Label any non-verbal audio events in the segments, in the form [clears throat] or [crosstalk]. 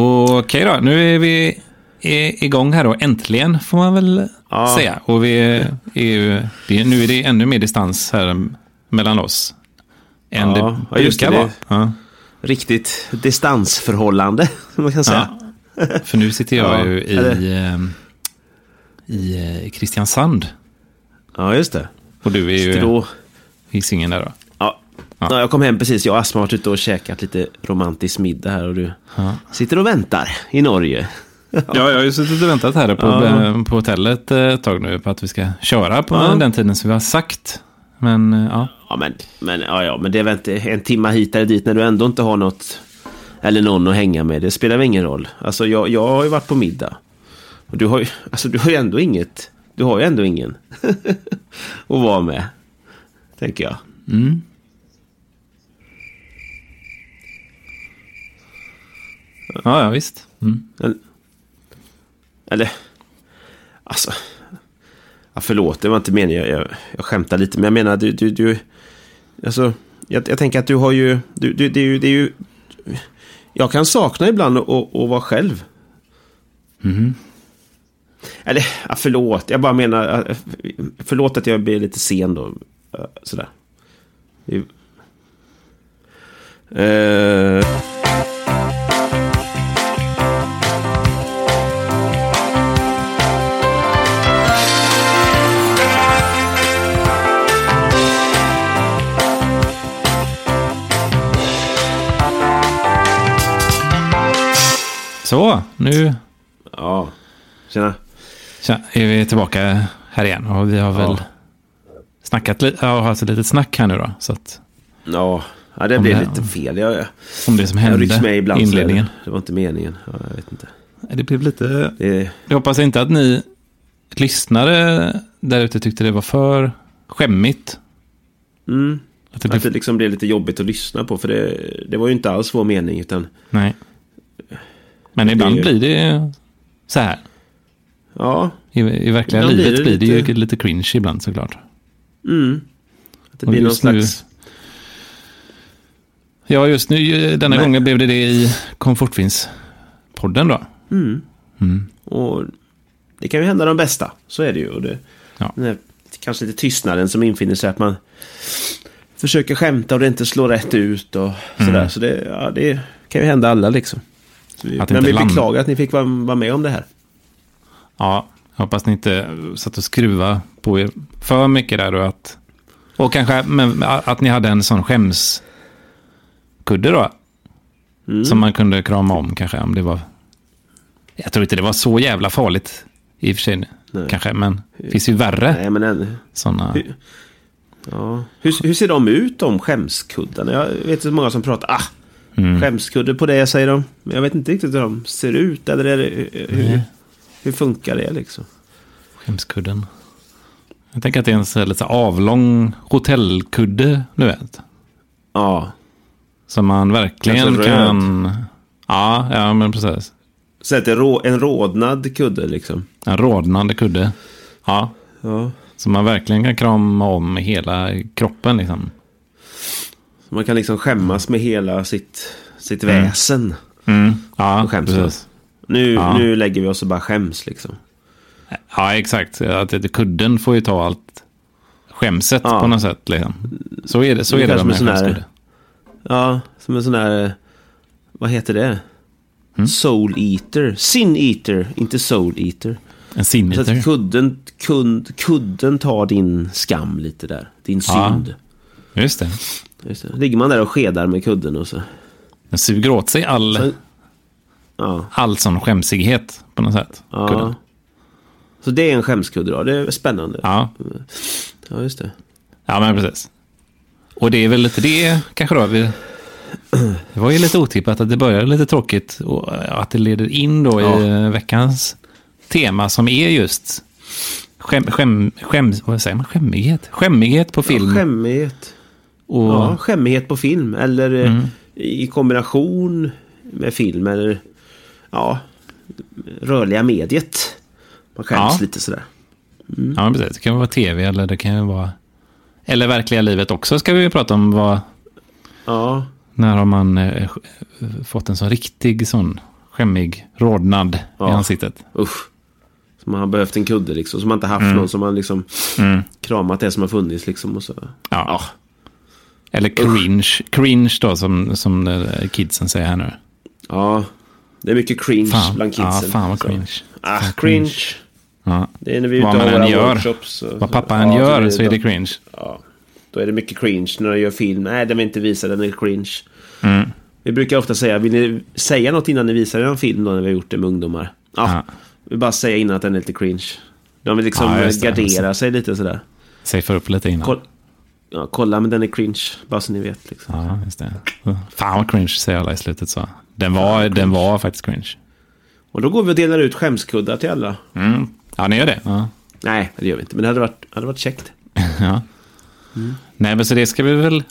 Okej då, nu är vi i- igång här då. Äntligen får man väl Ja. säga. Och vi är ju, det, är- nu är det ännu mer distans här mellan oss. Än Ja, det ja, just brukar det. vara. Ja. Riktigt distansförhållande, [laughs] som man kan säga. För nu sitter jag Ja, ju i, eller- eh, i eh, Kristiansand. Ja, just det. Och du är ju Strå. i Singen där då. Ja. Ja. Ja, jag kom hem precis, jag och Asma har varit ute och käkat lite romantisk middag här och du Ja. sitter och väntar i Norge. Ja, jag har ju suttit och väntat här på, Ja. på hotellet eh, ett tag nu på att vi ska köra på Ja. den tiden som vi har sagt. Men eh, ja, Ja men, men, ja, ja, men det är väl inte en timma hit eller dit när du ändå inte har något eller någon att hänga med. Det spelar väl ingen roll. Alltså jag, jag har ju varit på middag. Och du har ju, alltså, du har ju ändå inget. Du har ju ändå ingen [laughs] att vara med. Tänker jag. Mm. ja, ja visst. Mm. Eller, eller alltså. Ja, förlåt, det var inte meningen. Jag, jag, jag skämtar lite. Men jag menar, du, du, du alltså, jag, jag tänker att du har ju, du, du, det, är ju, det är ju, jag kan sakna ibland att- att att vara själv. Eller, ja, förlåt, jag bara menar, ja, förlåt att jag blir lite sen då. Ja, Sådär. Det är ju- Eh, Så, nu ja, tjena. tja, är vi tillbaka här igen. Och vi har väl snackat li- ja, haft ett litet snack här nu då. Så att, Ja, ja det Om blev det- lite fel. Jag, jag, om det som jag hände rycks med ibland. i så är det- inledningen. Det var inte meningen. Ja, jag vet inte. Det blev lite... Det är, Jag hoppas inte att ni lyssnare där ute tyckte det var för skämmigt. mm, Att det blev... att det liksom blev lite jobbigt att lyssna på. För det, det var ju inte alls vår mening. Utan, Nej. Men ibland ju- blir det så här. ja, I, i verkliga Ibland blir livet det blir det lite- ju lite cringe ibland såklart. mm, att det Och blir någon just nu- slags... Ja, just nu, eh, denna Nej. gången blev det det i Komfortfinns-podden då. Mm, och det kan ju hända de bästa. Så är det ju. Och det, Ja. den här, kanske lite tystnaden som infinner sig. Att man försöker skämta och det inte slår rätt ut. Och sådär. Så det, ja, det kan ju hända alla liksom. Så vi, Mm. Att men inte vi land- beklagar att ni fick vara, vara med om det här. Ja, jag hoppas ni inte satt och skruva på er för mycket där och att... Och kanske men, att ni hade en sån skämskudde då. Mm. Som man kunde krama om kanske om det var... Jag tror inte det var så jävla farligt i och för sig kanske, men det finns ju värre Nej, men en, sådana... Hur- Ja. Hur, hur ser de ut de skämskuddarna? Jag vet så många som pratar ah, Mm. skämskudde på det säger de. Men jag vet inte riktigt hur de ser ut eller är det, hur, Nej. hur funkar det liksom? Skämskudden. Jag tänker att det är en så här lite så här avlång hotellkudde, du vet. Ja, Som man verkligen Kanske röd. kan... Ja, ja, men precis. så att det är rå, en rodnad kudde liksom. En rodnande kudde. Ja, Ja. som man verkligen kan krama om med hela kroppen liksom. Så man kan liksom skämmas med hela sitt, sitt Mm. väsen. Ja, Mm. Och skäms precis. Nu, Ja. nu lägger vi oss och bara skäms liksom. Ja, exakt. Att det- kudden får ju ta allt skämset Ja. på något sätt. Liksom. Så är det, så är Ungefär det som med en sån här- skämskudde. Ja, som en sån här, eh, vad heter det? Mm. Soul eater, sin eater, inte soul eater. En Så att sinneter. kudden, kund, kudden tar din skam lite där. Din Ja. synd. Just det. Just det. Ligger man där och skedar med kudden och så. Den suger åt sig all... så ja, all sån skämsighet på något sätt. ja. Kudden. Så det är en skämskudde då. Det är spännande. Ja, Ja. just det. ja, men precis. Och det är väl lite det kanske då. Vi, det var ju lite otippat att det började lite tråkigt och eh, att det leder in då i eh, Ja. veckans tema som är just skäm, skäm, skäm, vad säger man? skämmighet. Skämmighet på film. Skämmighet. och, Mm. Ja, skämmighet på film. Eller eh, i kombination med film. Eller ja, rörliga mediet. Man skäms Ja. lite sådär. ja, men precis. Det kan vara tv eller det kan ju vara... Eller verkliga livet också ska vi ju prata om. Vad, Ja, när har man eh, sk- eh, fått en sån riktig sån skämmig rodnad Ja. i ansiktet. Usch. Så man har behövt en kudde liksom. Som man inte haft Mm. någon som man liksom kramat det som har funnits liksom. Och så. Ja. Eller cringe. Cringe då, som, som eh, kidsen säger här nu. Ja. Det är mycket cringe Fan, bland kidsen. ja, fan vad Så. cringe. Ah, Fan, cringe. cringe. Ja. Det är när vi är Vad ute och man har än våra gör. workshops. så- Vad pappa ja, än då gör så är det cringe. Ja. Då är det mycket cringe när de gör film. Nej, den vill inte visa, den är cringe. Mm. Vi brukar ofta säga, vill ni säga något innan ni visar en film då när vi har gjort det med ungdomar? Ja. Ja. Vi bara säga innan att den är lite cringe. De vill liksom Ja, eh, just det. gardera sig lite sådär. Safear upp lite innan. Koll, ja, kolla, men den är cringe. Bara så ni vet. Liksom. Ja, just det. Fan vad cringe säger alla i slutet så. Den var, den var faktiskt cringe. Och då går vi och delar ut skämskuddar till alla. Mm. Ja, ni gör det. Ja. Nej, det gör vi inte. Men det hade varit, hade varit käckt. [laughs] ja. Mm. Nej, men så det ska vi väl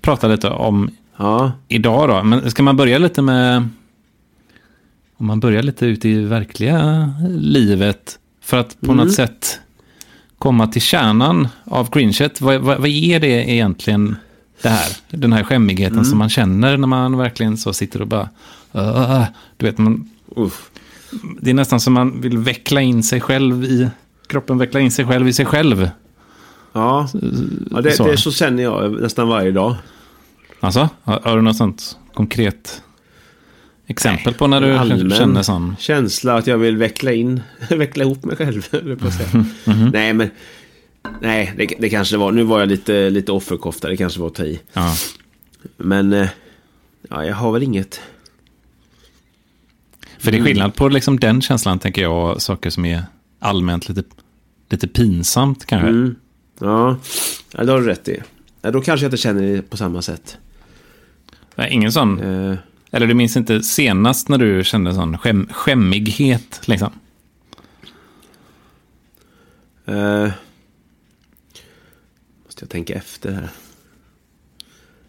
prata lite om Ja, idag då. Men ska man börja lite med... Om man börjar lite ute i verkliga livet. För att på något sätt komma till kärnan av cringet. Vad, vad, vad är det egentligen det här? Den här skämmigheten som man känner när man verkligen så sitter och bara... "Åh", du vet, man, uff. det är nästan som man vill veckla in sig själv i... Kroppen vecklar in sig själv i sig själv. Ja, ja det, Så. det är så känner jag nästan varje dag. Alltså, har, har du något sånt konkret exempel på när du Allmän känner sån? känsla att jag vill veckla in, [laughs] veckla ihop mig själv. [laughs] höll jag på att säga. Mhm, Nej, men nej, det, det kanske det var. Nu var jag lite, lite offerkofta, det kanske var att ta i. Ja. Men eh, ja, jag har väl inget. För Mm. det är skillnad på liksom den känslan, tänker jag, och saker som är allmänt lite, lite pinsamt kanske. Mm. Ja, ja, det har du rätt i. Ja, då kanske jag inte känner det på samma sätt. Nej, ingen sån, Eh, eller du minns inte senast när du kände sån skäm, skämmighet liksom? Eh, måste jag tänka efter här.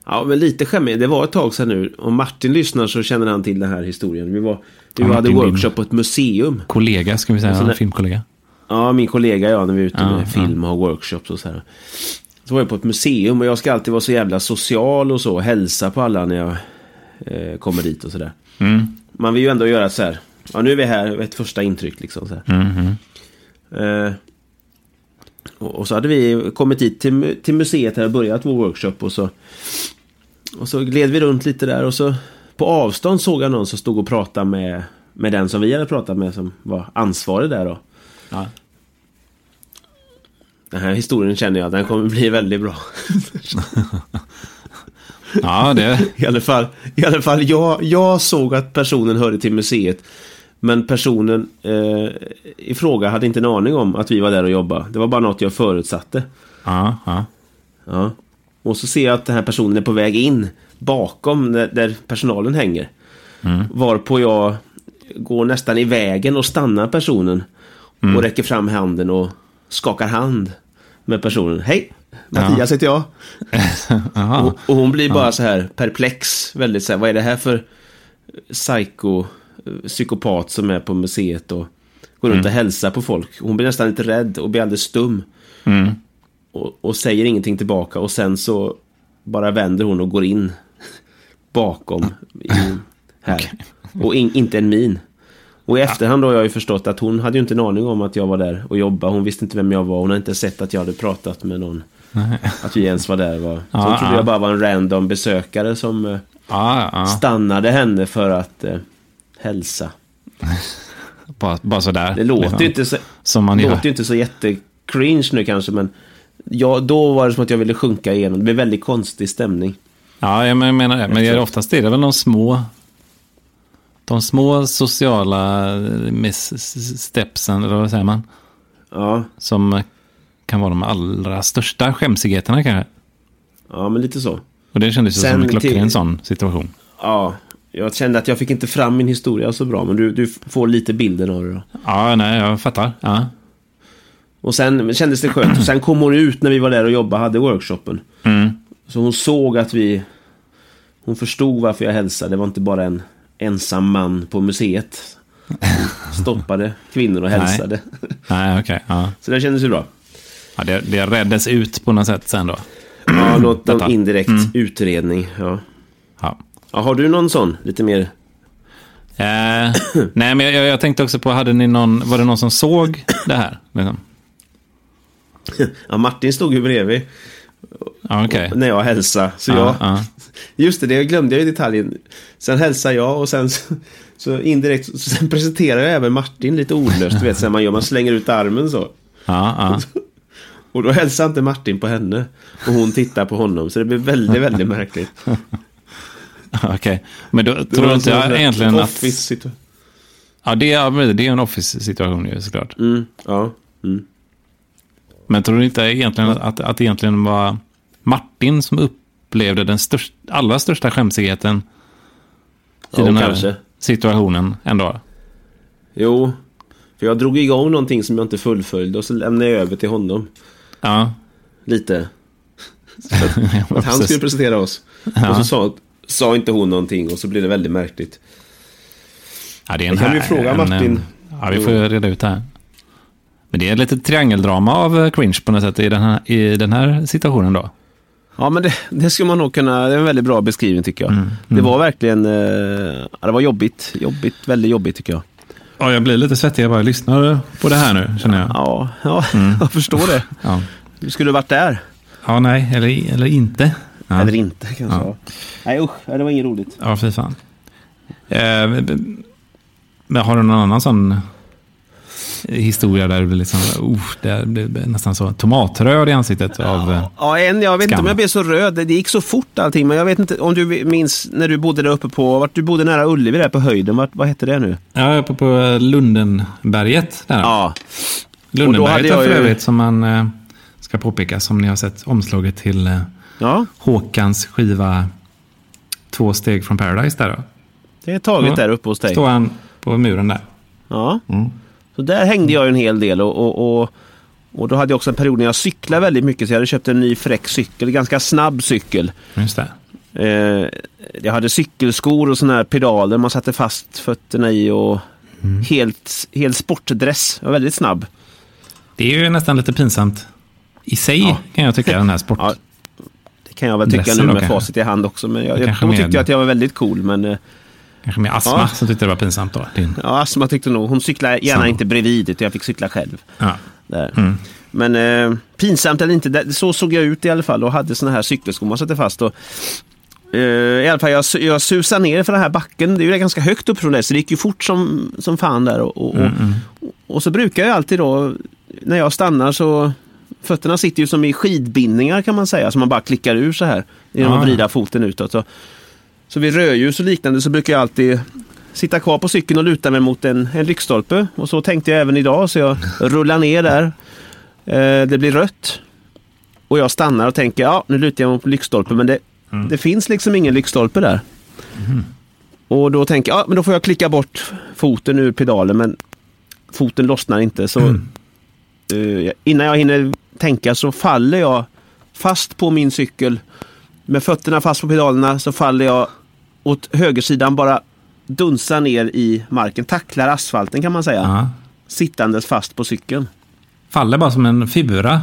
Ja, men lite skämmigt. Det var ett tag sedan nu. Om Martin lyssnar så känner han till den här historien. Vi var, vi Ja, hade Martin, workshop på ett museum. Kollega, ska vi säga, Alltså, en när- filmkollega. Ja, min kollega och jag när vi är ute Ja, med ja. film och har workshops och så här. Så var jag på ett museum och jag ska alltid vara så jävla social och så. och Hälsa på alla när jag eh, kommer dit och sådär. Mm. Man vill ju ändå göra så här. Ja, nu är vi här. Ett första intryck liksom. Så här. Mhm. Mm-hmm. Eh, och, och så hade vi kommit dit till, mu- till museet här och börjat vår workshop. Och så, och så gled vi runt lite där och så på avstånd såg jag någon som stod och pratade med, med den som vi hade pratat med som var ansvarig där då. Ja. Den här historien känner jag, den kommer bli väldigt bra. ja, [laughs] det... I alla fall, i alla fall jag, jag såg att personen hörde till museet. Men personen eh, i fråga hade inte en aning om att vi var där och jobbade. Det var bara något jag förutsatte. Ja, ja. [laughs] Ja. Och så ser jag att den här personen är på väg in bakom där, där personalen hänger. Varpå jag går nästan i vägen och stannar personen. Och räcker fram handen och skakar hand med personen. Hej! Mattias heter jag. Aha. Och, och hon blir bara så här perplex. Väldigt så här, vad är det här för psyko, psykopat som är på museet och går runt och hälsar på folk. Hon blir nästan lite rädd och blir alldeles stum. Mm. Och, och säger ingenting tillbaka och sen så bara vänder hon och går in [laughs] bakom i, här. Och in, inte en min. Och i efterhand då har jag ju förstått att hon hade ju inte en aning om att jag var där och jobbade. Hon visste inte vem jag var. Hon hade inte sett att jag hade pratat med någon. Nej. Att vi ens var där. Var. Så Ja, hon trodde ja. jag bara var en random besökare som eh, Ja, ja. stannade henne för att eh, hälsa. Bara, bara sådär. Det låter liksom. ju inte så... Som man Det gör. låter ju inte så jättecringe nu kanske, men ja, då var det som att jag ville sjunka igenom. Det blev väldigt konstig stämning. Ja, jag men- menar det. Men det är oftast är det väl de små de små sociala eh, misstepsen, eller vad säger man, Ja, som kan vara de allra största skämsigheterna kanske. ja men lite så. Och det kändes ju Sen som en klockren till- sån situation. Ja, jag kände att jag fick inte fram min historia så bra, men du, du får lite bilden av det då. Ja, nej, jag fattar. Ja, Och sen kändes det skönt. Och sen kom hon ut när vi var där och jobbade, hade workshopen. mm. Så hon såg att vi... Hon förstod varför jag hälsade. Det var inte bara en ensam man [laughs] på museet. Hon stoppade kvinnor och Nej. hälsade. nej okej. Ja. Så det kändes ju bra. Ja, det, det räddes ut på något sätt sen då. Ja, låt Detta. Mm. en indirekt utredning. Ja. Ja. Ja, har du någon sån? Lite mer Eh, nej, men jag, jag tänkte också på, hade ni någon, var det någon som såg det här? Liksom? Ja, Martin stod ju bredvid Ja, okej. när jag hälsade. Så Ja, jag, ja. Just det, det glömde jag i detaljen. Sen hälsade jag och sen så, så indirekt så sen presenterade jag även Martin lite ordlöst. Du vet, så här man gör, man slänger ut armen så. Ja, ja. Och då hälsade inte Martin på henne. Och hon tittar på honom. Så det blev väldigt, väldigt märkligt. Okej, men då [laughs] tror inte jag egentligen att... att... Ja, det är, ja, men det är en office-situation ju såklart. Mm, ja. Mm. Men tror du inte egentligen att, att, att det egentligen var Martin som upplevde den störst, allra största skämsigheten i Ja, den här kanske. situationen ändå? Jo. För jag drog igång någonting som jag inte fullföljde och så lämnade jag över till honom. Ja. Lite. Ja, [laughs] Att han precis. skulle presentera oss. Och så sa, sa inte hon någonting och så blev det väldigt märkligt. Ja, det är en Det kan vi här- fråga Martin. eh, Ja, vi får ju reda ut det här. Men det är lite triangeldrama av eh, cringe på något sätt i den här, i den här situationen då. Ja, men det, det skulle man nog kunna... Det är en väldigt bra beskrivning tycker jag. Mm, Det var verkligen... Eh, ja, det var jobbigt. Jobbigt. Väldigt jobbigt tycker jag. Ja, jag blir lite svettig. Jag bara lyssnar på det här nu, känner jag. Ja, ja Mm. jag förstår det. Ja, Du skulle varit där. ja nej, eller, eller inte. Ja. Eller inte kanske. Ja. Nej usch, ja, det var inget roligt. Ja, fy fan. Eh, b- men har du någon annan sån eh, historia där det blir liksom, uh, det blir nästan så tomatröd i ansiktet av... eh, Ja, en, jag vet inte Skam. om jag blev så röd. Det gick så fort allting. Men jag vet inte om du minns när du bodde där uppe på... Vart du bodde nära Ullevi där på höjden. Vart, vad hette det nu? Ja, uppe på eh, Lundenberget. Där. Ja. och då hade Lundenberget är jag för ju- övrigt som man eh, ska påpeka, som ni har sett omslaget till eh, Ja, Håkans skiva Två steg från Paradise. Där då. det är taget Ja. där uppe hos dig. Står han på muren där. Ja. Mm. Så där hängde jag ju en hel del och, och, och, och då hade jag också en period när jag cyklade väldigt mycket så jag hade köpt en ny fräck cykel, ganska snabb cykel. Just det. Eh, jag hade cykelskor och sådana här pedaler man satte fast fötterna i och Mm. helt, helt sportdress. Jag var väldigt snabb. Det är ju nästan lite pinsamt i sig, Ja. kan jag tycka, den här sport... Ja, Det kan jag väl tycka Dressen nu då med kanske? facit i hand också men jag, jag, Kanske då med- tyckte jag att jag var väldigt cool men eh, Kanske med astma Ja. som tyckte det var pinsamt då. Din. ja, Asma tyckte nog, hon cyklade gärna Samma. inte bredvid utan jag fick cykla själv. Ja. Där. Men eh, pinsamt eller inte, det- så såg jag ut i alla fall och hade såna här cykelskor man satte fast. Och, eh, I alla fall jag, su- jag susade ner för den här backen, det är ju ganska högt upp från det, så det gick ju fort som, som fan där. Och, och, Mm. och, och så brukar jag alltid då, när jag stannar så Fötterna sitter ju som i skidbindningar kan man säga, så man bara klickar ur så här. Genom Ah. att vrida foten utåt. Så, så vid rödljus och liknande så brukar jag alltid sitta kvar på cykeln och luta mig mot en, en lyktstolpe. Och så tänkte jag även idag, så jag rullar ner där. Eh, det blir rött. Och jag stannar och tänker, ja nu lutar jag mot lyktstolpen, men det, det finns liksom ingen lyktstolpe där. Och då tänker jag, ja men då får jag klicka bort foten ur pedalen, men foten lossnar inte. Så eh, innan jag hinner tänka så faller jag fast på min cykel. Med fötterna fast på pedalerna så faller jag åt högersidan bara dunsar ner i marken, tacklar asfalten kan man säga. Ja. Sittandes fast på cykeln. Faller bara som en fura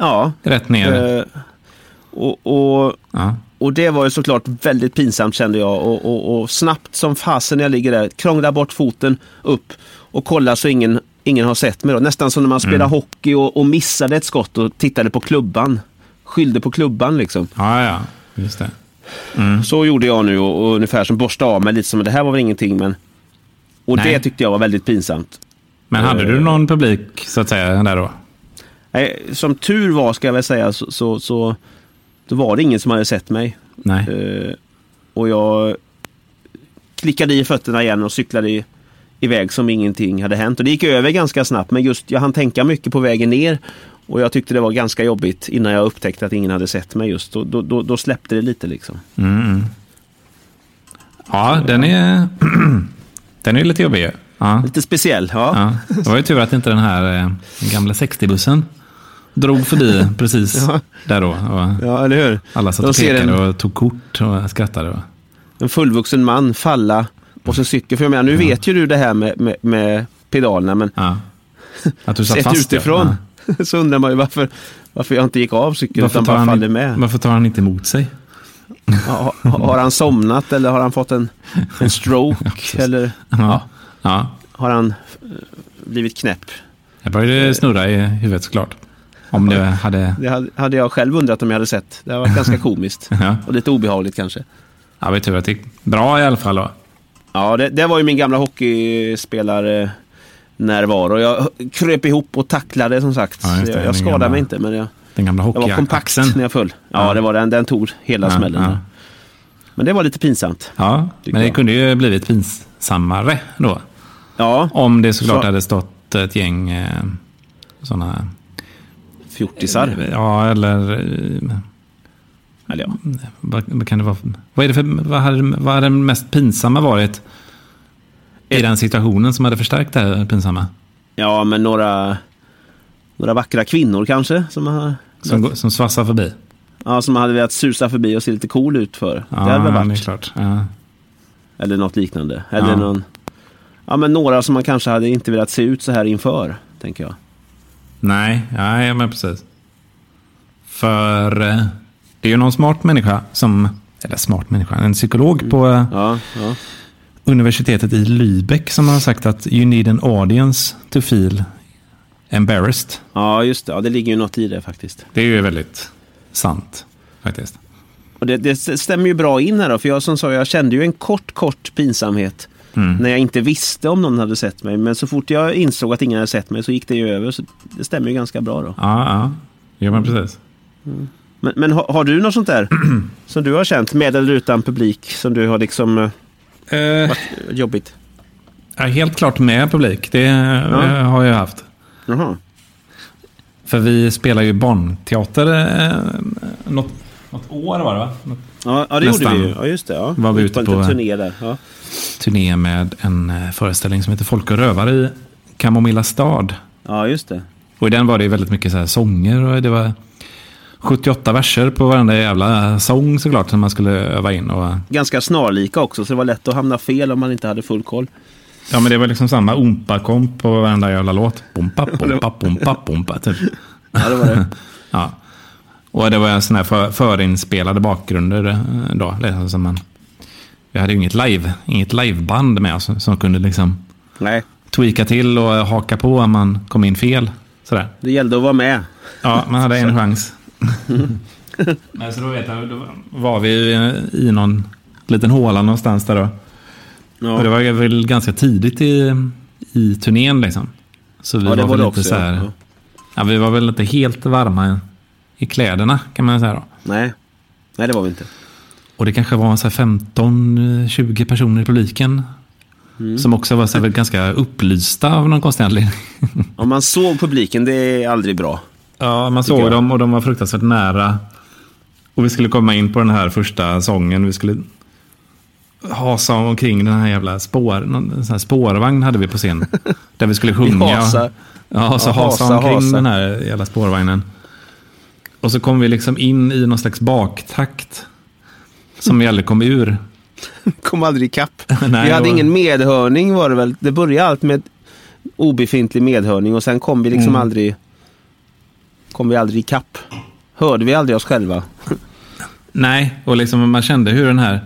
Ja. rätt ner. Eh, och, och, ja. och det var ju såklart väldigt pinsamt kände jag och, och, och snabbt som fasen när jag ligger där, krånglar bort foten upp och kollar så ingen, ingen har sett mig. Då. Nästan som när man spelar hockey och, och missade ett skott och tittade på klubban. Skyllde på klubban liksom. ja, ja, just det. Så gjorde jag nu och, och ungefär som borstade av mig lite som det här var väl ingenting men och Nej. det tyckte jag var väldigt pinsamt. Men hade Eh. du någon publik, så att säga, där då? Nej, som tur var ska jag väl säga så, så, så då var det ingen som hade sett mig. Nej. Eh, och jag klickade i fötterna igen och cyklade i, iväg som ingenting hade hänt. Och det gick över ganska snabbt men just jag hann tänka mycket på vägen ner. Och jag tyckte det var ganska jobbigt innan jag upptäckte att ingen hade sett mig just. Då, då, då, då släppte det lite liksom. Mm. mm. Ja, den är... [clears throat] den är lite jobbig ju. Ja. Lite speciell, ja. Ja. Det var ju tur att inte den här eh, gamla 60-bussen drog [laughs] förbi precis där då. Och Ja, eller hur? alla satt De och ser pekade en- och tog kort och skrattade. Och... En fullvuxen man falla på sin cykel. För jag menar, nu vet ju du det här med, med, med pedalerna men Ja. Att du satt sett fast ja. utifrån [laughs] Ja. så undrar man ju varför, varför jag inte gick av cykeln utan tar bara han, faller med. varför tar han inte emot sig? Ha- Har han somnat eller har han fått en, [laughs] en stroke? eller Ja. ja. har han eh, blivit knäpp? Jag Eh. började snurra i huvudet såklart. Om det hade... Det hade- hade jag själv undrat om jag hade sett. Det har varit [laughs] ganska komiskt. Ja, Och lite obehagligt kanske. ja vi tur att det gick bra i alla fall då. Ja, det, det var ju min gamla hockeyspelare eh, närvaro. Jag kröp ihop och tacklade som sagt. Ja, just det. jag Den jag skadade gamla- mig inte, men jag, Den gamla jag var kompakt hockeyaxeln. när jag föll. Ja, Ja. det var den. Den tog hela Ja, smällen. ja. Men det var lite pinsamt. Ja, Tycker men det jag. kunde ju blivit pinsammare då. Ja, Om det såklart Så- hade stått ett gäng eh, sådana... fjortisar. Ja, eller... eh, Eller ja. Vad, vad kan det vara? för- Vad, är det för, vad, hade, vad hade det mest pinsamma varit i Ett- den situationen som hade förstärkt det här pinsamma? ja, men några, några vackra kvinnor kanske. Som, har- Som, går- som svassar förbi? ja, som hade velat susa förbi och se lite cool ut för. Ja, det hade väl det är varit. klart. Ja. Eller något liknande. Eller Ja. någon... Ja, men några som man kanske hade inte velat se ut så här inför, tänker jag. Nej, nej, men precis. För eh, det är ju någon smart människa som, eller smart människa, en psykolog på eh, Ja, ja. universitetet i Lübeck som har sagt att you need an audience to feel embarrassed. ja just det. Ja, det ligger ju något i det faktiskt. Det är ju väldigt sant faktiskt. Och det, det stämmer ju bra in här då, för jag som sa, jag kände ju en kort, kort pinsamhet Mm. när jag inte visste om någon hade sett mig. Men så fort jag insåg att ingen hade sett mig så gick det ju över. Så det stämmer ju ganska bra då. Ja, ja. Jo, men precis. Men, men har, har du något [clears throat] sånt där som du har känt, med eller utan publik, som du har liksom eh, Eh, varit jobbigt? ja, helt klart med publik. Det eh, Ja. har jag haft. Jaha. För vi spelar ju barnteater eh, något, något år var det va? Något Ja, ja, det Nästan. gjorde vi ju. Ja, just det. Ja. Var vi Gick ute en på- liten turné där. Ja. turné med en eh, föreställning som heter Folk och rövare i Kamomilla stad. ja, just det. Och i den var det ju väldigt mycket så här sånger och det var 78 verser på varenda jävla sång såklart som man skulle öva in. Och, ganska snarlika också, så det var lätt att hamna fel om man inte hade full koll. ja men det var liksom samma ompa-komp på varenda jävla låt. Pompa, pompa, pompa, pompa typ. Ja, det var [laughs] det. Ja. Och det var sådana här för, förinspelade bakgrunder eh, då. Liksom, som man, vi hade ju inget, live, inget liveband med oss som kunde liksom Nej, tweaka till och haka på om man kom in fel. Sådär. det gällde att vara med. Ja, man hade en [laughs] chans. Men så då vet jag, då var vi ju i någon liten håla någonstans där då. Och det Ja, var ju väl ganska tidigt i, i turnén liksom. Så vi ja det var, var väl det inte också. så här, Ja. ja. vi var väl inte helt varma i kläderna kan man säga då. Nej. Nej, det var vi inte. Och det kanske var så här 15-20 personer i publiken. Mm. Som också var så här väl ganska upplysta av någon konstig anledning. Om man såg publiken, det är aldrig bra. Ja, man såg jag. dem och de var fruktansvärt nära. Och vi skulle komma in på den här första sången. Vi skulle hasa omkring den här jävla spår, någon sån här spårvagn hade vi på scen. Där vi skulle sjunga. hasar. Ja, så hasa, Ja, hasa, omkring hasa. den här jävla spårvagnen. Och så kom vi liksom in i någon slags baktakt. Som vi aldrig kom ur. [laughs] Kom aldrig [laughs] ikapp. Nej, vi det hade var- ingen medhörning var det väl. Det började allt med obefintlig medhörning och sen kom vi liksom Mm. aldrig... Kom vi aldrig ikapp. Hörde vi aldrig oss själva? Nej, och liksom man kände hur den här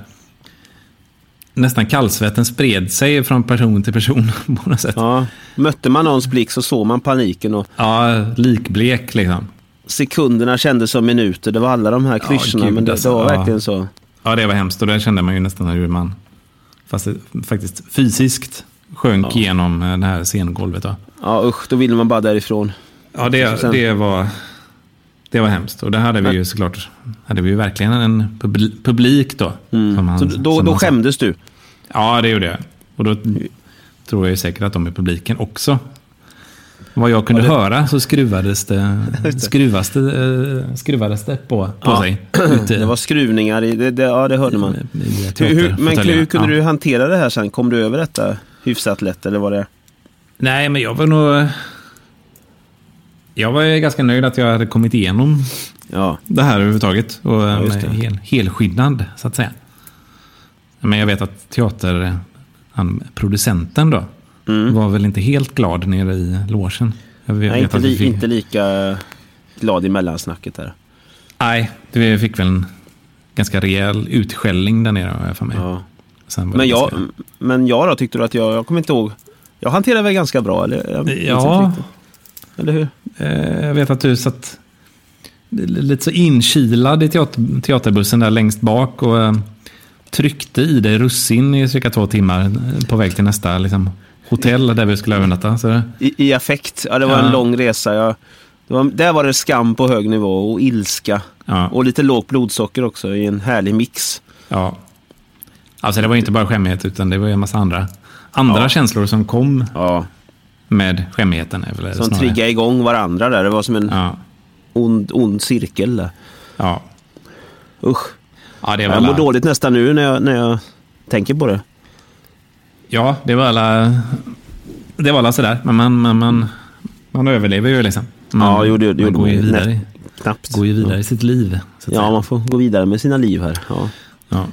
nästan kallsvetten spred sig från person till person [laughs] på något sätt. Ja. Mötte man någons blick så såg man paniken och Ja, likblek liksom. sekunderna kändes som minuter. Det var alla de här Ja, klyschorna, gud, men det, det alltså, var ja. verkligen så. Ja, det var hemskt och det kände man ju nästan hur man fast det- faktiskt fysiskt sjönk igenom eh, det här scengolvet. Då. Ja usch, då ville man bara därifrån. Ja, det, sen- det, var, det var hemskt och det hade vi ju såklart, hade vi ju verkligen en publi- publik Mm. då. som han- Så då som då han sa. skämdes du? Ja, det gjorde jag. Och då tror jag ju säkert att de i publiken också. Vad jag kunde höra så skruvades [laughs] det, skruvas det, eh, skruvades det på, på [clears throat] Ja. sig. Ute Det var skruvningar, i, det, det, ja det hörde man. i, i Hur, hur, men teaterfåtöljerna. hur kunde Ja. du hantera det här sen? Kom du över detta hyfsat lätt eller var det? Nej, men jag var nog... Jag var ju ganska nöjd att jag hade kommit igenom Ja, det här överhuvudtaget. Och ja, just det. hel, helskinnad, så att säga. Men jag vet att teater... Han, producenten då, var väl inte helt glad nere i logen. Jag vet Mm. Nej, inte, att vi li, fick, inte lika glad i mellansnacket där. Nej, vi fick väl en, ganska rejäl utskällning där nere har jag för mig. Ja. Sen var det Men jag, ganska- men jag då, tyckte du att jag, jag kommer inte ihåg. Jag hanterade väl ganska bra, eller? Jag minns inte Ja, riktigt. Eller hur? eh, jag vet att du satt lite så inkilad i teater, teaterbussen där längst bak och eh, tryckte i dig russin i cirka två timmar eh, på väg till nästa liksom, hotell där vi skulle övernatta. Så det- I, I affekt. Ja, det var Ja. en lång resa. Jag, det var, där var det skam på hög nivå och ilska. Ja. Och lite lågt blodsocker också i en härlig mix. Ja. Alltså det var ju inte bara skämmighet utan det var ju en massa andra, andra Ja. känslor som kom Ja. med skämmigheten. är väl det Som snarare. triggade igång varandra där. Det var som en Ja. ond, ond cirkel där. Ja. Usch. ja, det var Jag mår alla, dåligt nästan nu när jag, när jag tänker på det. ja, det var alla, det var alla sådär. Men man, man, man, man överlever ju liksom. Man, Ja, jo, det gjorde man går ju man ju. vidare, Knappt. går ju vidare i sitt liv. Så att Ja, säga. man får gå vidare med sina liv här. Ja. Ja.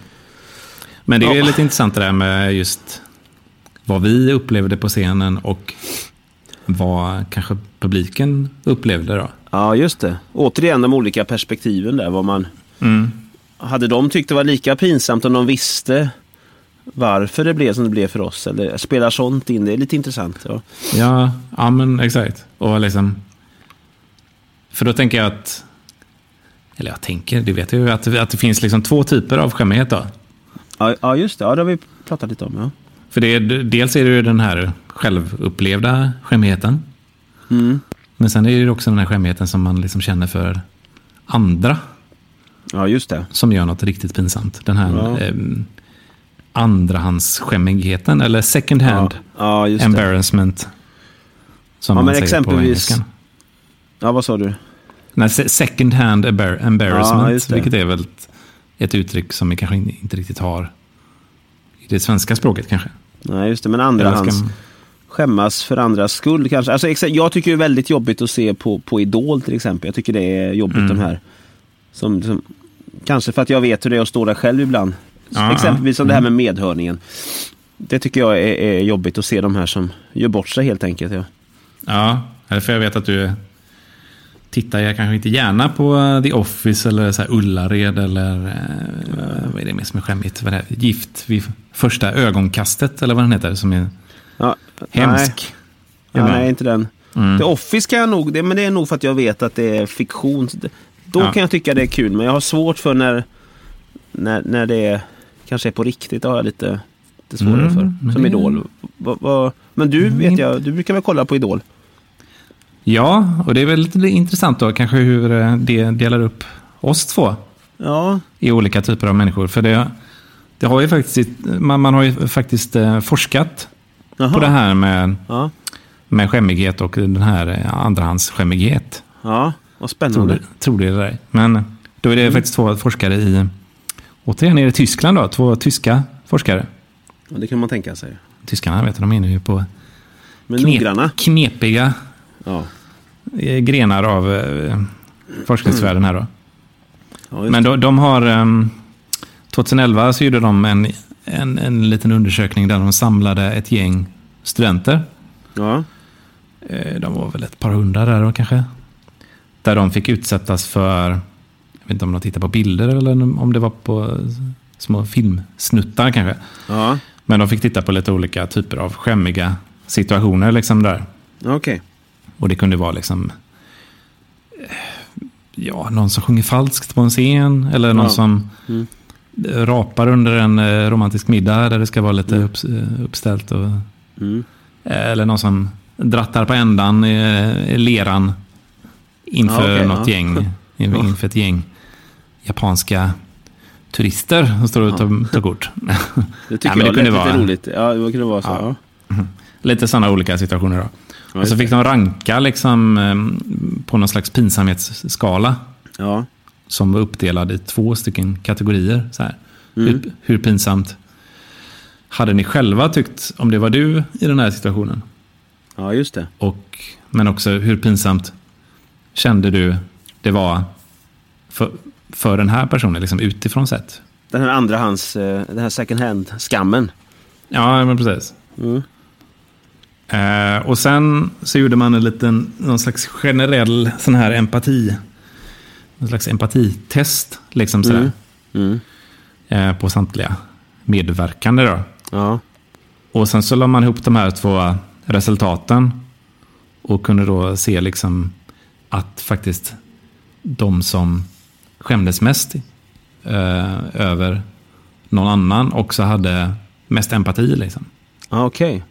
Men det är ju Ja. lite intressant det där med just vad vi upplevde på scenen och vad kanske publiken upplevde då. Ja, just det. Återigen de olika perspektiven där. Vad man... Hade de tyckt det var lika pinsamt om de visste varför det blev som det blev för oss? Eller spelar sånt in? Det är lite intressant. Ja. Ja, ja men exakt. Och liksom... För då tänker jag att... Eller jag tänker, det vet jag ju, att, det- att det finns liksom två typer av skämmighet då. Ja, ja, just det. Ja, det har vi pratat lite om. Ja. För det är, dels är det ju den här självupplevda skämmigheten. Mm. Men sen är det ju också den här skämmigheten som man liksom känner för andra ja, just det. som gör något riktigt pinsamt. Den här Ja. eh, andrahandsskämmigheten, eller second hand Ja, just det. embarrassment. Som Ja, man men säger på exempelvis- engelskan. Ja, vad sa du? Nej, se- second hand embar- Ja, embarrassment, just det. vilket är väl ett, ett uttryck som vi kanske in- inte riktigt har i det svenska språket kanske. Nej, just det. Men Eller andra ska hans man- skämmas för andras skull kanske. Alltså, exa- jag tycker det är väldigt jobbigt att se på, på Idol till exempel. Jag tycker det är jobbigt de här. Som, som, kanske för att jag vet hur det är att stå där själv ibland. Ja, Exempelvis som det här med medhörningen. Det tycker jag är, är jobbigt att se de här som gör bort sig helt enkelt. Ja. Ja, eller för jag vet att du tittar jag kanske inte gärna på eh, The Office eller så här Ullared eller eh, vad är det mer som är skämmigt? Vad är det här? Gift vid första ögonkastet eller vad den heter som är Ja, hemsk. Nej, ibland. nej inte den. Mm. The Office kan jag nog, det, men det är nog för att jag vet att det är fiktion. Så det- Då Ja. kan jag tycka det är kul, men jag har svårt för när, när, när det är, kanske är på riktigt. Det har jag lite, lite svårare Mm, men för. Som det- Idol. Va, va, men du Mm, vet inte- jag, du brukar väl kolla på Idol? Ja, och det är väl lite intressant då kanske hur eh, det delar upp oss två. Ja, i olika typer av människor. För det, det har ju faktiskt, man, man har ju faktiskt eh, forskat Jaha. på det här med, Ja, med skämmighet och den här eh, andrahandsskämmighet. ja. vad Tror, spännande. det, tror det är det där. Men då är Mm. det faktiskt två forskare i, återigen är det Tyskland då, två tyska forskare. Ja, det kan man tänka sig. Tyskarna vet du, de är inne ju på Men knep- noggranna. knepiga Ja. eh, grenar av eh, forskningsvärlden här då. Mm. Ja, just- Men de, de har... ehm, 2011 så gjorde de en, en, en liten undersökning där de samlade ett gäng studenter. ja. Eh, De var väl ett par hundra där då kanske. Där de fick utsättas för... Jag vet inte om de tittade på bilder eller om det var på små filmsnuttar kanske. ja. Men de fick titta på lite olika typer av skämmiga situationer liksom där. okej. Och det kunde vara liksom... eh, Ja, någon som sjunger falskt på en scen. Eller någon Ja. som Mm. rapar under en eh, romantisk middag där det ska vara lite upps- eh, uppställt. Och, Mm. Eh, eller någon som drattar på ändan i eh, leran inför Ja, okej, något ja. [laughs] gäng. in- Inför ett gäng japanska turister som står och tar, tar kort. Det tycker men det kunde jag lät lite vara- roligt. Ja, det kunde vara så. Ja. Lite sådana olika situationer då. Ja, och så just Alltså, fick de ranka liksom, eh, på någon slags pinsamhetsskala. Ja. Som var uppdelad i två stycken kategorier. Så här. Mm. Hur, hur pinsamt hade ni själva tyckt om det var du i den här situationen? ja, just det. Och, men också hur pinsamt kände du det var för, för den här personen liksom utifrån sett? Den här andra hans, eh, den här second hand-skammen. Ja, men precis. Mm. Eh, och sen så gjorde man en liten, någon slags generell sån här empati, någon slags empatitest. Liksom sådär. eh, på samtliga medverkande. Då. Ja. Och sen så la man ihop de här två resultaten och kunde då se liksom att faktiskt de som skämdes mest eh, över någon annan också hade mest empati. Liksom. Ja, okej.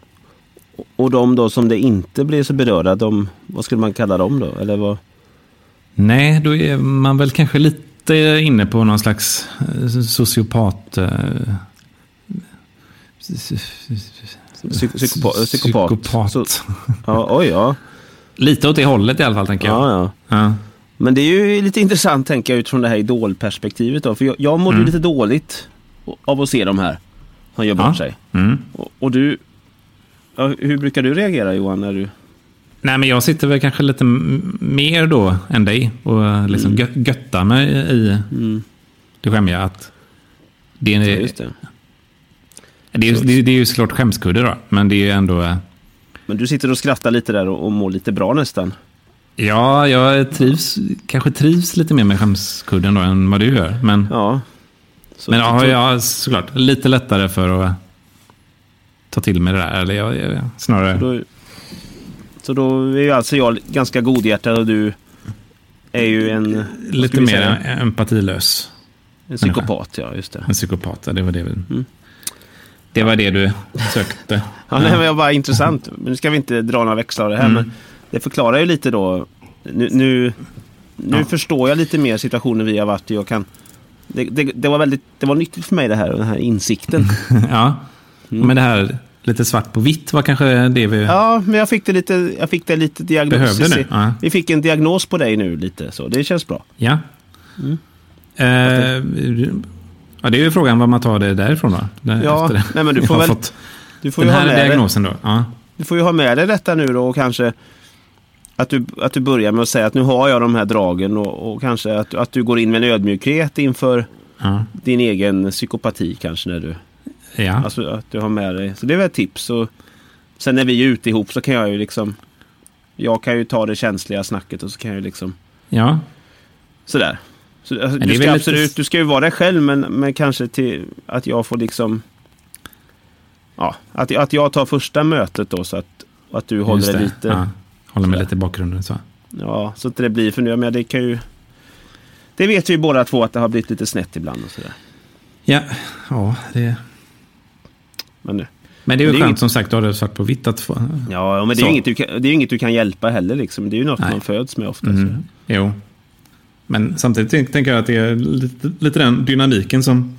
Och- Och de då som det inte blir så berörda, de, vad skulle man kalla dem då? Eller vad? Nej, då är man väl kanske lite inne på någon slags eh, sociopat... eh, Psy- psykopa- psykopat. psykopat. Så- ja, oj, ja. Lite åt det hållet i alla fall, tänker jag. ja, ja. Ja. Men det är ju lite intressant tänker jag utifrån det här idolperspektivet då. För jag, jag mådde ju lite dåligt av att se de här som gör bort Ja. sig. Mm. Och, och du, ja, hur brukar du reagera Johan? När du... Nej, men jag sitter väl kanske lite m- mer då än dig och eh, liksom Mm. gö- göttar mig i det skämmiga. Att det, är, Ja, det, just det. är, det, är, det är ju såklart skämskudde då, men det är ju ändå... eh, Men du sitter och skrattar lite där och, och mår lite bra nästan. Ja, jag trivs, kanske trivs lite mer med skämskudden då än vad du gör. Men, Ja. Så men du ja, tror- jag såklart lite lättare för att ta till mig det där. Eller jag, jag, snarare... Då, så då är ju alltså jag ganska godhjärtad och du är ju en... vad Lite ska vi mer säga? empatilös. En psykopat, ja just det. En psykopat, ja, det var det vi... Det var det du sökte. Mm. Ja, nej, men jag bara intressant. Men nu ska vi inte dra några växlar av det Mm. här. Men det förklarar ju lite då. Nu, nu, nu Ja. förstår jag lite mer situationen vi har varit i och kan... Det, det, det var väldigt det var nyttigt för mig det här, den här insikten. Mm. Ja, men det här lite svart på vitt var kanske det vi Mm. Ja, men jag fick det lite, jag fick det lite diagnos. behövde nu. Ja. Vi fick en diagnos på dig nu lite så. Det känns bra. Ja. Mm. Eh, ja, det är ju frågan var man tar det därifrån då. Där- Ja, efter det. nej, men du Jag får har väl- fått Du får, den ju ha här med dig, diagnosen då. Ja. du får ju ha med dig detta nu då och kanske att du, att du börjar med att säga att nu har jag de här dragen och, och kanske att, att du går in med en ödmjukhet inför Ja. din egen psykopati kanske när du, Ja. alltså att du har med dig. Så det är väl ett tips. Och sen när vi är ute ihop så kan jag ju liksom, jag kan ju ta det känsliga snacket och så kan jag ju liksom, ja, sådär. Så, alltså, Men du, det är ska väl absolut, lite- du ska ju vara dig själv men, men kanske till att jag får liksom, ja, att, att jag tar första mötet då så att, att du håller just dig det. lite, Ja. ja. Håller mig Sådär. lite i bakgrunden så. så att det blir, för nu, men det kan ju, det vet vi ju båda två att det har blivit lite snett ibland och sådär. Ja, ja det... Men nu. Men det är ju Men det är skönt inget- som sagt att ha det svart på vitt att få. Ja, men det är, Så. ju inget du kan, det är ju inget du kan hjälpa heller. Liksom. Det är ju något Nej. man föds med ofta. Mm. Jo. Men samtidigt tänk- tänker jag att det är lite, lite den dynamiken som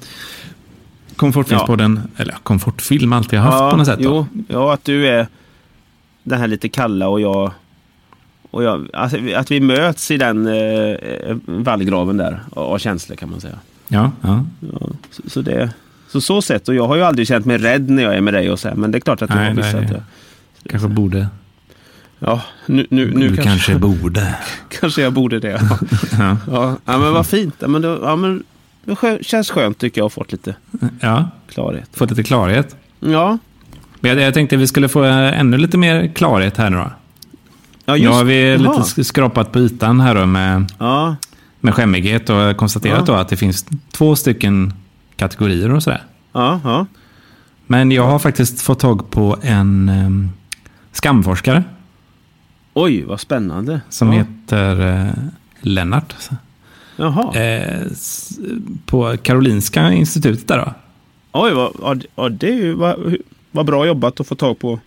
komfortfilmspodden, eller komfortfilm alltid har haft på något sätt. Då. Jo, ja, att du är den här lite kalla och jag... Och jag alltså, att vi möts i den eh, eh, vallgraven där av av känslor kan man säga. Ja, ja. Ja, så, så det... Så så sett, och jag har ju aldrig känt mig rädd när jag är med dig och så här, men det är klart att du Nej, har nej. vissa att jag, kanske borde. Ja, nu, nu, nu kanske, [laughs] kanske. borde. jag borde det. Ja, Ja. ja. ja men vad fint. Ja, men det, ja, men det skö- känns skönt tycker jag att ha fått lite ja, klarhet. fått lite klarhet. Ja, Men jag, jag tänkte vi skulle få eh, ännu lite mer klarhet här nu då. ja nu har vi Jaha. lite sk- skrapat på ytan här då med, Ja, med skämmighet och konstaterat Ja. då att det finns två stycken kategorier och sådär. ja, ja. Men jag har faktiskt fått tag på en eh, skamforskare Oj, vad spännande. som ja. heter eh, Lennart. Jaha. Eh, s- på Karolinska institutet där då. Oj, vad, ja, det- ja, det är ju vad, hur- vad bra jobbat att få tag på.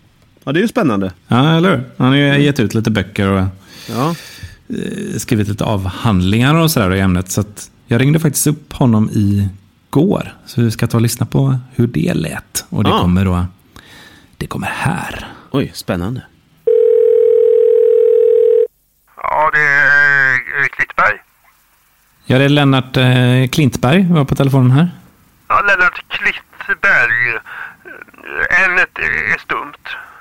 Ja, det är ju spännande. Ja, eller hur? Han har ju gett ut lite böcker och Ja, eh, skrivit lite avhandlingar och sådär i ämnet. Så att jag ringde faktiskt upp honom igår. Så vi ska ta och lyssna på hur det lät. Och det Ah. kommer då... Det kommer här. oj, spännande. Ja, det är eh, Klittberg. Ja, det är Lennart eh, Klintberg var på telefonen här. Ja, Lennart Klittberg. Eh, N-et är är stumt.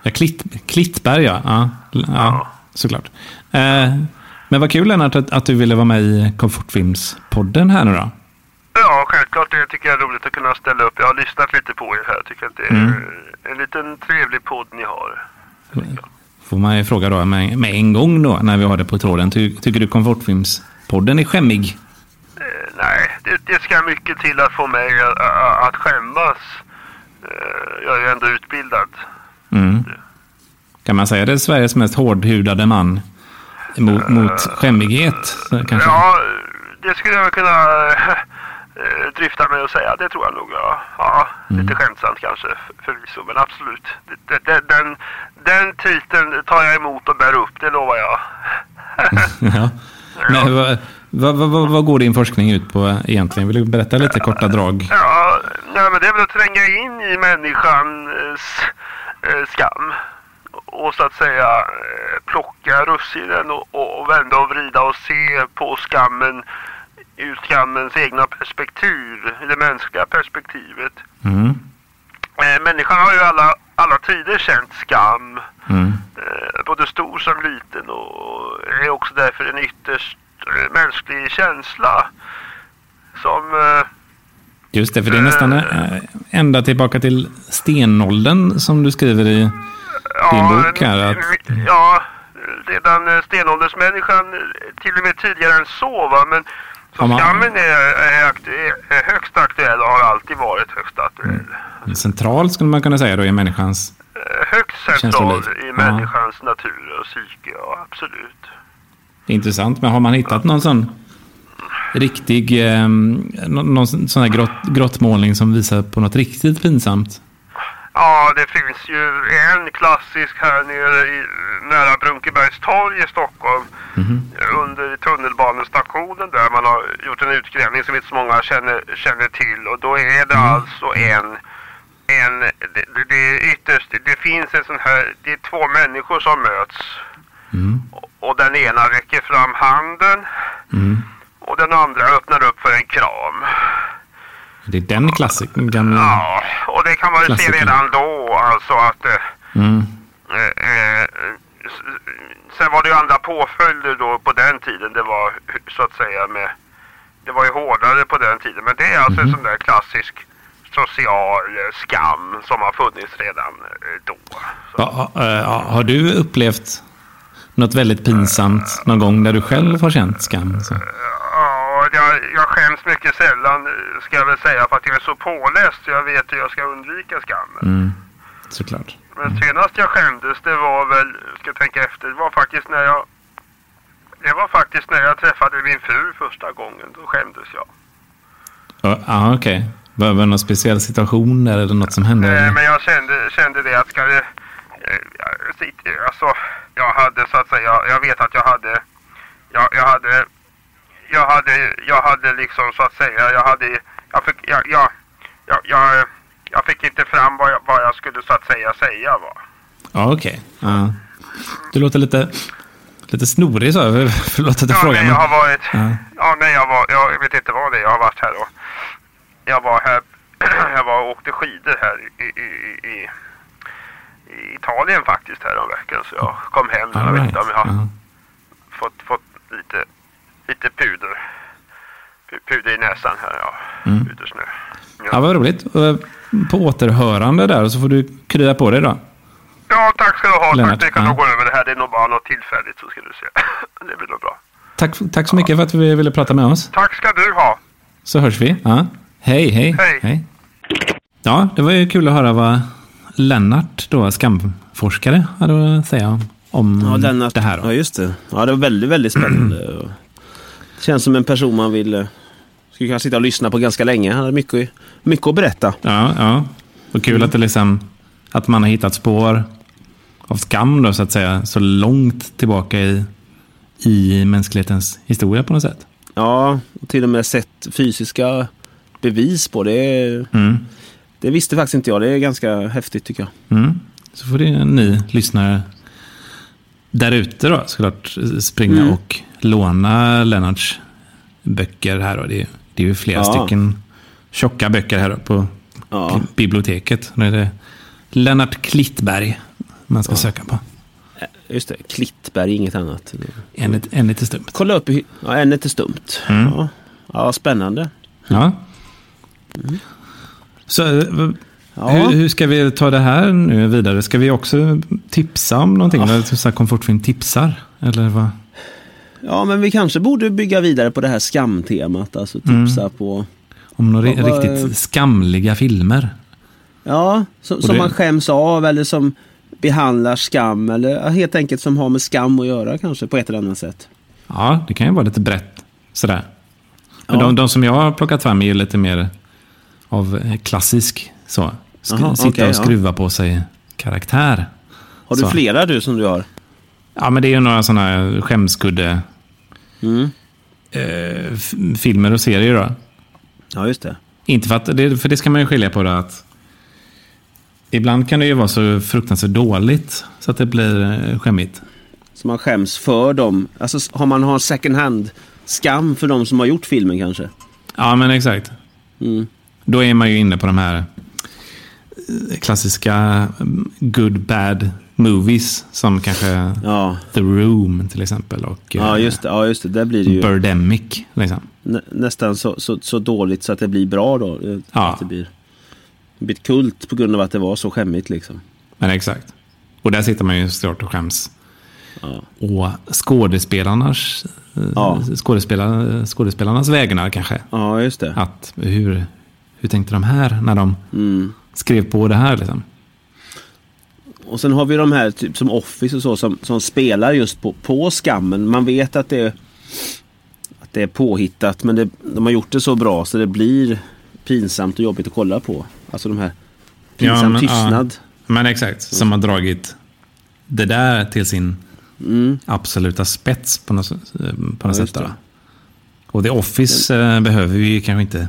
Ja, Klitt, Klittberg ja. Ja, l- ja såklart. Eh, men vad kul Lennart att, att du ville vara med i Komfortfilmspodden här nu då. Ja, självklart. Det tycker jag är roligt att kunna ställa upp. Jag har lyssnat lite på er här. Jag tycker att det är en liten trevlig podd ni har. Får man ju fråga då med, med en gång då när vi har det på tråden. Ty, tycker du Komfortfilmspodden är skämmig? Eh, nej, det, det ska mycket till att få mig att, att skämmas. Eh, Jag är ju ändå utbildad. Mm. Kan man säga det är Sveriges mest hårdhudade man mot, mot skämmighet? så Kanske. Ja, det skulle jag kunna eh, drifta mig och säga. Det tror jag nog. Ja, ja lite skämtsamt kanske för- förvisso, men absolut. Det- det- det- Den, den titeln tar jag emot och bär upp, det lovar jag. [laughs] Ja. Men vad, vad, vad, vad, vad går din forskning ut på egentligen? Vill du berätta lite korta drag? Ja, nej, men det är väl att tränga in i människans eh, skam. Och så att säga eh, plocka russinen och, och, och vända och vrida och se på skammen ur skammens egna perspektiv, det mänskliga perspektivet. Mm. Eh, människan har ju alla, alla tider känt skam, Mm. eh, både stor som liten och är också därför en ytterst eh, mänsklig känsla. Som eh, Just det, för det är nästan eh, ända tillbaka till stenåldern som du skriver i. din bok här, att- m- Ja, redan eh, stenåldersmänniskan, eh, till och med tidigare än så va, men så Ja, man- skammen är, är, aktu- är- är högst aktuell och har alltid varit högst aktuell. Mm. Central skulle man kunna säga då i människans. Eh, Högst central Känsloliv. i Ja. människans natur och psyke, ja absolut. Intressant, men har man hittat någon sån riktig, eh, någon, någon sån här grott, grottmålning som visar på något riktigt pinsamt? Ja, det finns ju en klassisk här nere i, nära Brunkebergstorg i Stockholm. Mhm. Under tunnelbanestationen där man har gjort en utgrävning som inte så många känner, känner till. Och då är det Mm. alltså en... en det, det, det är ytterst... Det finns en sån här... Det är två människor som möts. Mm. Och, och den ena räcker fram handen. Mm. Och den andra öppnar upp för en kram. Det är den klassikern, gamla... Ja, och det kan man ju se Mm. Klassiker. redan då alltså att... eh, Mm. Eh, eh, s- s- sen var det ju andra påföljder då på den tiden. Det var så att säga med... Det var ju hårdare på den tiden. Men det är Mhm. alltså en sån där klassisk social eh, skam som har funnits redan eh, då. Ja, ja, ja, har du upplevt något väldigt pinsamt någon gång där du själv har känt skam? Så? Ja, jag, jag skäms mycket sällan eh, ska jag väl säga för att jag är så påläst så jag vet hur jag ska undvika skammen. Mm. Såklart. Men senast jag skämdes det var väl, ska tänka efter, det var faktiskt när jag det var faktiskt när jag träffade min fru första gången. Då skämdes jag. Ja, ah, okej. Var var det någon speciell situation där eller något som hände? Eh, men jag kände, kände det att ska det... eh, jag sitter- Alltså, jag hade så att säga... Jag vet att jag hade... Jag, jag hade... Jag hade, jag hade liksom så att säga, jag hade, jag fick, jag, jag, jag, jag, jag fick inte fram vad jag, vad jag skulle så att säga säga va. Ja, okej. Ja. Du låter lite, lite snorig så. Förlåt att jag [laughs] Ja, frågar. nej, jag har varit... Ja. Ja, nej, jag var... Jag vet inte vad det är. Jag har varit här och... Jag var här... [clears throat] Jag var och åkte skidor här i... i, i, i i Italien faktiskt häromveckan så jag kom hem. All jag vet right. inte om jag har Ja. fått, fått lite, lite puder. Pu- Puder i näsan här ja. Pudersnö. Mm. ja, vad roligt. Eh, På återhörande där så får du krya på dig då. Ja tack ska du ha. Lennart, tack. Vi kan ja. nog gå över det här. Det är nog bara något tillfälligt så ska du se. [laughs] det blir nog bra. Tack, tack så mycket för att vi ville prata med oss. Tack ska du ha. Så hörs vi. Ja. Hej, hej, Hej. Ja, det var ju kul att höra vad Lennart, då, skamforskare, hade att säga om- om Ja, Lennart. Mm, det här. Då. Ja, just det. Ja, det var väldigt, väldigt spännande. Och Känns som en person man vill... eh, Skulle kunna sitta och lyssna på ganska länge. Han hade mycket, mycket att berätta. Ja, ja. Och kul att, det liksom, att man har hittat spår av skam då, så att säga, så långt tillbaka i, i mänsklighetens historia på något sätt. Ja, och till och med sett fysiska bevis på det. Mm. Det visste faktiskt inte jag. Det är ganska häftigt tycker jag. Mm. Så får det en ny lyssnare där ute då såklart springa Mm. och låna Lennarts böcker här då. Det är, det är ju flera Ja. stycken tjocka böcker här då på Ja. biblioteket. Nu är det Lennart Klittberg man ska söka på. Just det, Klittberg, inget annat. En, lit- en lite stumt. Kolla upp, i- ja, en lite stumt. Mm. Ja. ja, spännande. Ja. Mm. Så eh, v- Ja. hur, hur ska vi ta det här nu vidare? Ska vi också tipsa om någonting? Eller så här komfortfilm tipsar? Eller vad? Ja, men vi kanske borde bygga vidare på det här skamtemat. Alltså Mm. tipsa på... Om några Vad var- riktigt skamliga filmer. Ja, som, som det- man skäms av eller som behandlar skam. Eller ja, helt enkelt som har med skam att göra kanske på ett eller annat sätt. Ja, det kan ju vara lite brett. Sådär. Men Ja. de, de som jag har plockat fram är ju lite mer av eh, klassisk så. Skru, Aha, sitta okej, och ja. skruva på sig karaktär. Har du Så. flera du som du har? Ja, men det är ju några sådana skämskudde Mm. eh, f- filmer och serier då. Ja, just det. Inte för att, det, för det ska man ju skilja på det att ibland kan det ju vara så fruktansvärt dåligt så att det blir eh, skämmigt. Så man skäms för dem. Alltså s- har man har second hand skam för de som har gjort filmen kanske. Ja, men exakt. Mm. Då är man ju inne på de här eh, klassiska mm, good bad movies som kanske Ja. The Room till exempel och eh, Ja, just det. Ja, just det. Där blir det ju Birdemic. Liksom. nä- nästan så, så, så dåligt så att det blir bra då. Eh, Ja. Att det blir, blir kult på grund av att det var så skämmigt liksom. Men exakt. Och där sitter man ju såklart och skäms. Ja. Och skådespelarnas, eh, Ja. skådespelar, skådespelarnas vägnar kanske. Ja, just det. Att hur, hur tänkte de här när de Mm. skrev på det här? Liksom? Och sen har vi de här typ som Office och så som, som spelar just på, på skammen. Man vet att det, att det är påhittat men det, de har gjort det så bra så det blir pinsamt och jobbigt att kolla på. Alltså de här Ja, pinsam men, ja. tystnad. Men exakt, som har dragit det där till sin absoluta spets på något, på något sätt. just då. det. Och The Office eh, behöver vi ju kanske inte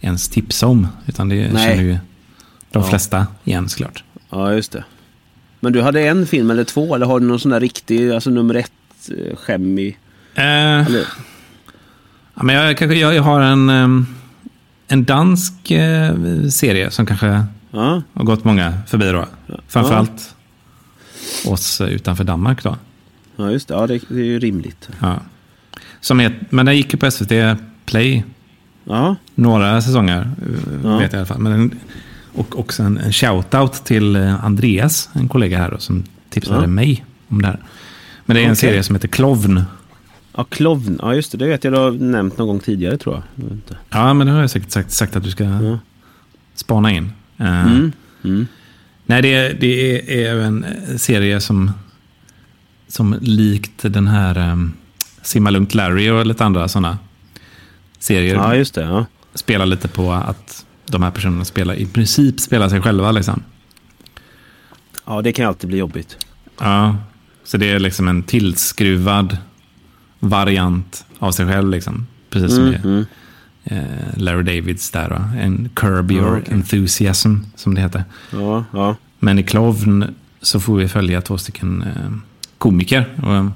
ens tipsa om. Utan det Nej. känner ju de Ja. flesta igen såklart. Ja, just det. Men du hade en film eller två eller har du någon sån där riktig, alltså nummer ett eh, skämmig? Eh, Eller, ja, men jag, kanske, jag, jag har en, ehm, en dansk eh, serie som kanske ja, har gått många förbi då. Framförallt oss utanför Danmark då. ja, just det. Ja, det, det är ju rimligt. Ja. Som het, men den gick ju på SVT Play Ja, några säsonger. eh, Ja. Vet jag i alla fall. Men en, och också en, en shout-out till eh, Andreas, en kollega här då, som tipsade Ja. mig om det här. Men det är en Okej. serie som heter Klovn. ja Klovn. Ja, just det. Det vet jag du har nämnt någon gång tidigare tror jag. jag. vet inte. Ja, men det har jag säkert sagt, sagt att du ska Ja. spana in. Eh, Mm. Mm. Nej, det, är- det är, är en eh, serie som, som likt den här um, Simma Lugnt Larry och lite andra sådana serier Ja, just det. Ja. spelar lite på att de här personerna spelar, i princip spelar sig själva. Liksom. ja, det kan ju alltid bli jobbigt. Ja, så det är liksom en tillskruvad variant av sig själv. Liksom. Precis som det är Mm. eh, Larry Davids där. Va? En Curb Your Ja, Mm, okej. Enthusiasm som det heter. Ja, ja. Men i Klovn så får vi följa två stycken eh, komiker. Och, eh,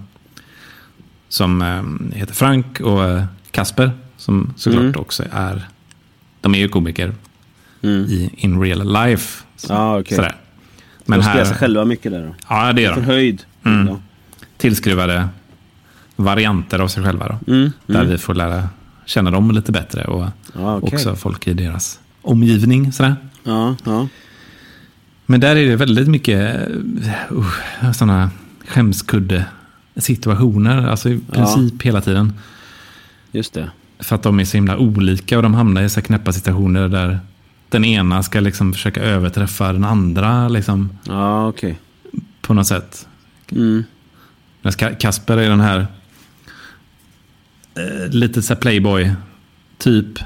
som eh, heter Frank och eh, Kasper. Som såklart Mm. också är... De är ju komiker Mm. i in real life. Så, Ja, okej. sådär. Men Men de spelar sig här... själva mycket där då. Ja, det gör de. Förhöjd. Mm. Ja. Tillskruvade varianter av sig själva. Då, Mm. Där Mm. vi får lära känna dem lite bättre. Och Ja, okej. också folk i deras omgivning. Sådär. Ja, ja. Men där är det väldigt mycket uh, sådana skämskudde situationer, alltså i princip hela tiden. Just det. För att de är så himla olika och de hamnar i så här knäppa situationer där den ena ska liksom försöka överträffa den andra liksom, Ja, okej. på något sätt. Mm. Medan Ka- Kasper är den här eh, lite så här playboy-typ.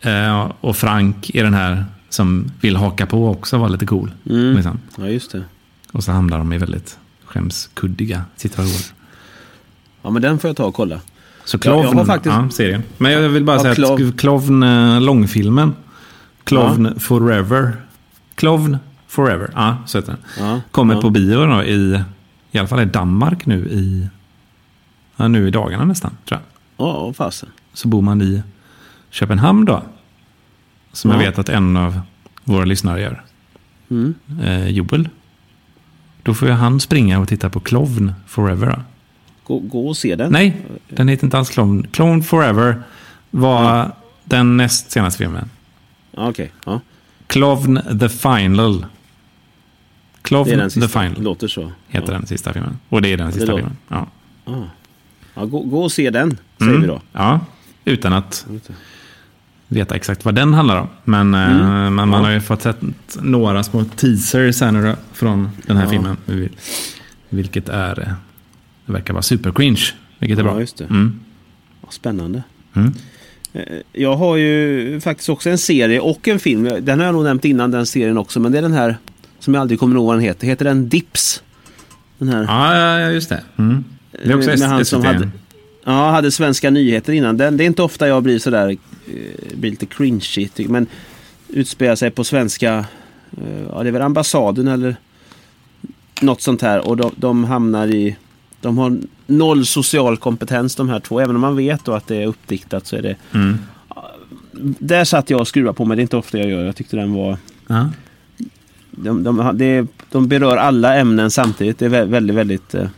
Eh, och Frank är den här som vill haka på och också vara lite cool. Mm. Liksom. Ja, just det. Och så hamnar de i väldigt skämskuddiga situationer. Ja, men den får jag ta och kolla. Så Ja, jag har Klovn, ja, faktiskt- serien. Men jag vill bara Ja, säga att Klov- sk- Klovn, eh, långfilmen, Klovn Forever, Klovn Forever, ja, så heter den. Ja, Kommer ja. på bio då i, i alla fall i Danmark nu i, ja, nu i dagarna nästan, tror jag. Ja, fasen. Så bor man i Köpenhamn då. Som jag Ja. vet att en av våra lyssnare gör, Mm. eh, Joel. Då får ju han springa och titta på Klovn Forever då. Gå, gå och se den. Nej, den heter inte alls Clone. Clone Forever var den näst senaste filmen. Ja, Okej. Ja. Clovn the Final. Det är Clovn den the sista. Final Låter så. heter den sista filmen. Och det är den sista låter- filmen. Ja. Ja, gå, gå och se den, säger vi då. Ja, utan att veta exakt vad den handlar om. Men, eh, Mm. men man har ju fått sett några små teasers här nu då, från den här filmen. Vil- Vilket är, eh, det verkar vara super cringe. Vilket är Ja, bra. just det. Mm. Ja, Spännande. Mm. Eh, Jag har ju faktiskt också en serie och en film. Den har jag nog nämnt innan den serien också. Men det är den här som jag aldrig kommer ihåg vad den heter. Heter den Dips? Den här. Ja, ja, ja, just det. Mm. Det är också Eh, Med han som SVT. hade- Ja, hade svenska nyheter innan. Den, det är inte ofta jag blir sådär, eh, blir lite cringy. tycker- Men utspelar sig på svenska, eh, ja det är väl ambassaden eller något sånt här. Och de, de hamnar i, de har noll social kompetens de här två. Även om man vet då att det är uppdiktat så är det... Mm. Där satt jag och skruvade på mig, det är inte ofta jag gör. Jag tyckte den var... Ja. De, de, har- det, de berör alla ämnen samtidigt. Det är vä- väldigt, väldigt... eh,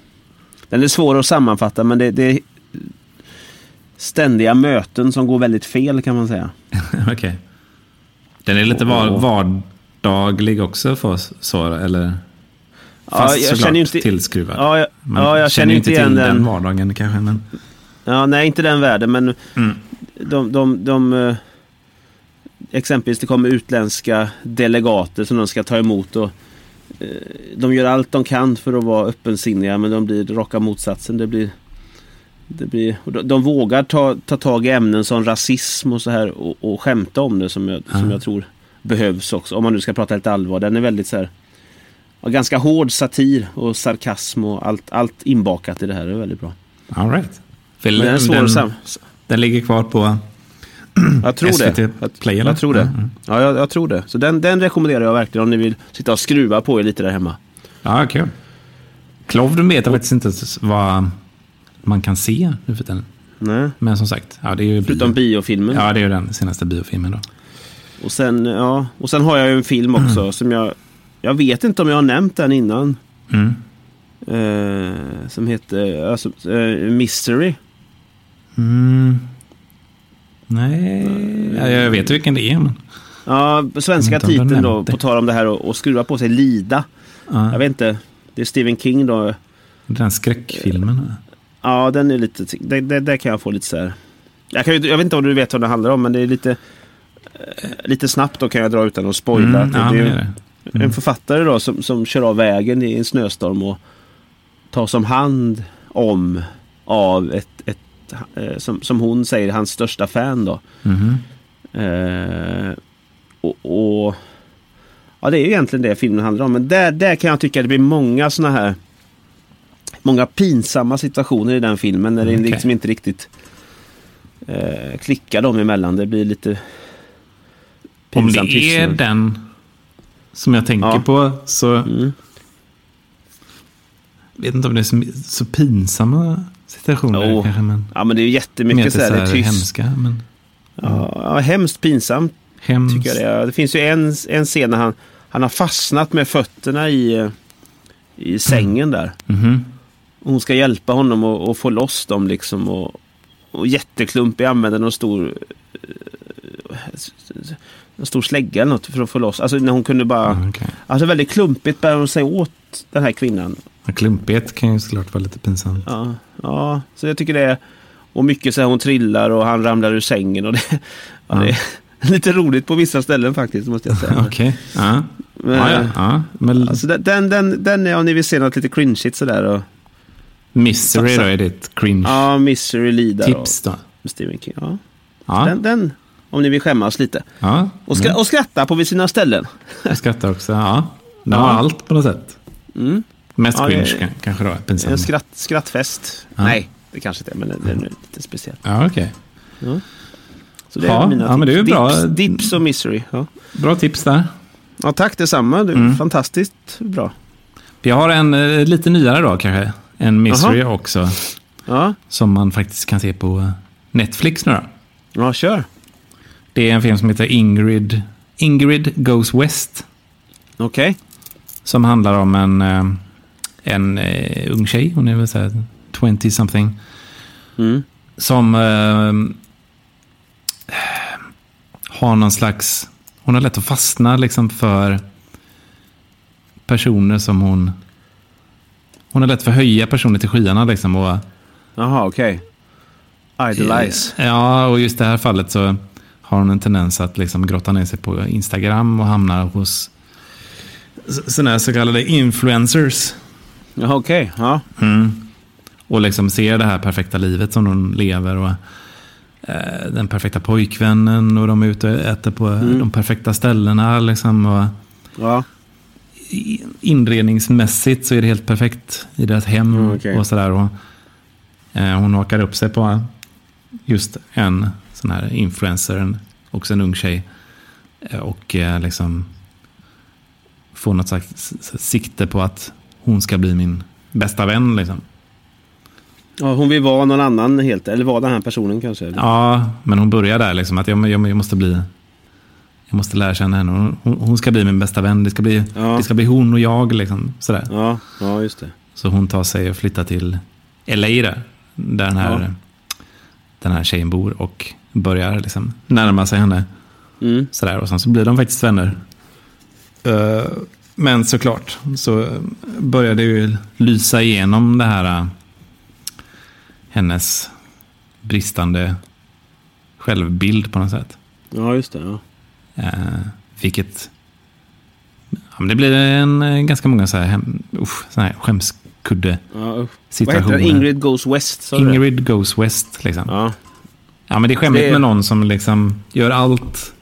Den är svår att sammanfatta men det, det är ständiga möten som går väldigt fel kan man säga. [laughs] Okej. Den är lite var, vardaglig också för oss, så, eller? Fast jag såklart känner ju inte- tillskruvad. Ja, jag, Man ja, jag känner ju inte igen till den. den vardagen kanske. Men... Ja, nej, inte den världen men Mm. de... de, de eh, Exempelvis det kommer utländska delegater som de ska ta emot och eh, de gör allt de kan för att vara öppensinniga men de blir raka motsatsen. Det blir Det blir, och de, de vågar ta, ta tag i ämnen som rasism och så här och, och skämta om det som jag, som jag tror behövs också. Om man nu ska prata lite allvar. Den är väldigt så här ja, Ganska hård satir och sarkasm och allt, allt inbakat i det här. Det är väldigt bra. All right. För Men den är svår att sam- den ligger kvar på... Jag tror det. SVT Play, eller? jag tror det. Mm, mm. Ja, jag, jag tror det. Så den, den rekommenderar jag verkligen om ni vill sitta och skruva på er lite där hemma. Ja, kul. Klovn vet jag faktiskt inte s- vad man kan se nu för tiden. Nej. Men som sagt, ja, det är ju... Förutom biofilmen. Ja, det är ju den senaste biofilmen då. Och, sen, ja, och sen har jag ju en film också som jag... Jag vet inte om jag har nämnt den innan. Mm. Eh, som heter alltså, eh, Mystery. Mm. Nej, ja, jag vet vilken det är. Men... Ja, svenska Jag vet inte om du titeln då, nämnt det. på tal om det här och, och skruva på sig, lida. Ja, Jag vet inte, det är Stephen King då. Den skräckfilmen. Ja, den är lite, det, det, där kan jag få lite så här. Jag, kan, ju- jag vet inte om du vet vad det handlar om, men det är lite, eh, lite snabbt då kan jag dra utan att spoila. Mm, det, ja, det är men ju det är det. en författare då som, som kör av vägen i en snöstorm och tas om hand om av ett, ett eh, som, som hon säger, hans största fan då. Mhm. Eh, och, och Ja, det är ju egentligen det filmen handlar om. Men där, där kan jag tycka det blir många såna här Många pinsamma situationer i den filmen när det Okej. liksom inte riktigt eh, klickar dem emellan. Det blir lite Om det pinsam är tystnad. den som jag tänker Ja. på så... Mm. vet inte om det är så, så pinsamma situationer Jo. kanske. Men Ja, men det är ju mer jättemycket så här, det är tyst. hemska. Men Ja, ja, hemskt pinsamt hemskt. tycker jag det är. Det finns ju en, en scen när han, han har fastnat med fötterna i, eh, i sängen där. Mhm. Och Hon ska hjälpa honom att, att få loss dem liksom. Och, och jätteklumpig använder någon stor, eh, s- s- en stor slägga eller något för att få loss. Alltså när hon kunde bara... Ja, okej. Alltså väldigt klumpigt bär hon sig åt den här kvinnan. Ja, Klumpighet kan ju såklart vara lite pinsamt. Ja, ja så jag tycker det är... Och mycket så här hon trillar och han ramlar ur sängen. Och det, [laughs] ja, det är [laughs] lite roligt på vissa ställen faktiskt måste [laughs] jag säga. Okej. Ja. Men- Ja, ja. ja. Men Alltså den, den, den, den är om ni vill se något lite cringeigt sådär. Och, misery då är ditt cringe-tips ja, Misery Lida då? och Stephen King. Ja. Ja. Mm. Den, den, om ni vill skämmas lite. ja. Och, skra- och skratta på vid sina ställen. Jag skrattar också. Ja. Det har Ja. allt på något sätt. Mm. Mest Ja, det- cringe kan- kanske då. En Pinsamt. Eh, skratt, skrattfest. Mm. Ja. Nej, det kanske inte är, men den är lite speciell. Ja, okej. Så det Ja, är mina ja, men det är ju tips. bra. Dips, dips och Misery. Ja. Bra tips där. ja, tack detsamma. Du, Mm. Fantastiskt bra. Jag har en eh, lite nyare då kanske. En misery också. Ja, Som man faktiskt kan se på eh, Netflix nu då. ja kör. Det är en film som heter Ingrid, Ingrid Goes West. Okej. Som handlar om en, eh, en eh, ung tjej, hon är väl såhär 20 something. Mm. Som eh, har någon slags, hon har lätt att fastna liksom för personer som hon, hon har lätt för att höja personer till skyarna liksom. Och Jaha, okej. Idolize. Ja, och just det här fallet så har hon en tendens att liksom grotta ner sig på Instagram och hamnar hos sådana här så kallade influencers. Jaha, okej. Ja. Mm. Och liksom ser det här perfekta livet som de lever. Och, eh, den perfekta pojkvännen och de är ute och äter på de perfekta ställena. Liksom, och ja. i- inredningsmässigt så är det helt perfekt i deras hem. Mm, okej. och sådär. Och, eh, hon hakar upp sig på just en sån här influencer, en- också en ung tjej. Eh, Och eh, liksom får något slags s- s- sikte på att hon ska bli min bästa vän. Liksom. ja. Hon vill vara någon annan helt. Eller vara den här personen kanske. eller? Ja, men hon börjar där liksom. Att jag, jag, jag måste bli... Jag måste lära känna henne. Hon, hon, hon ska bli min bästa vän. Det ska bli, Ja. det ska bli hon och jag liksom. Sådär. ja. Ja, just det. Så hon tar sig och flyttar till LA där. Där den här, Ja. den här tjejen bor och börjar liksom närma sig henne. Mm. Sådär. Och sen så blir de faktiskt vänner. Eh, men såklart så eh, börjar det ju lysa igenom det här eh, hennes bristande självbild på något sätt. Ja, just det. Ja. Eh, vilket... Ja, men det blir en, eh, ganska många så här, hem, usch, så här skämskudde ja. usch. Vad situationer. heter den? Ingrid Goes West? sa du det? Ingrid goes west. Liksom. Ja. Ja. men det är skämmigt Det- med någon som liksom gör allt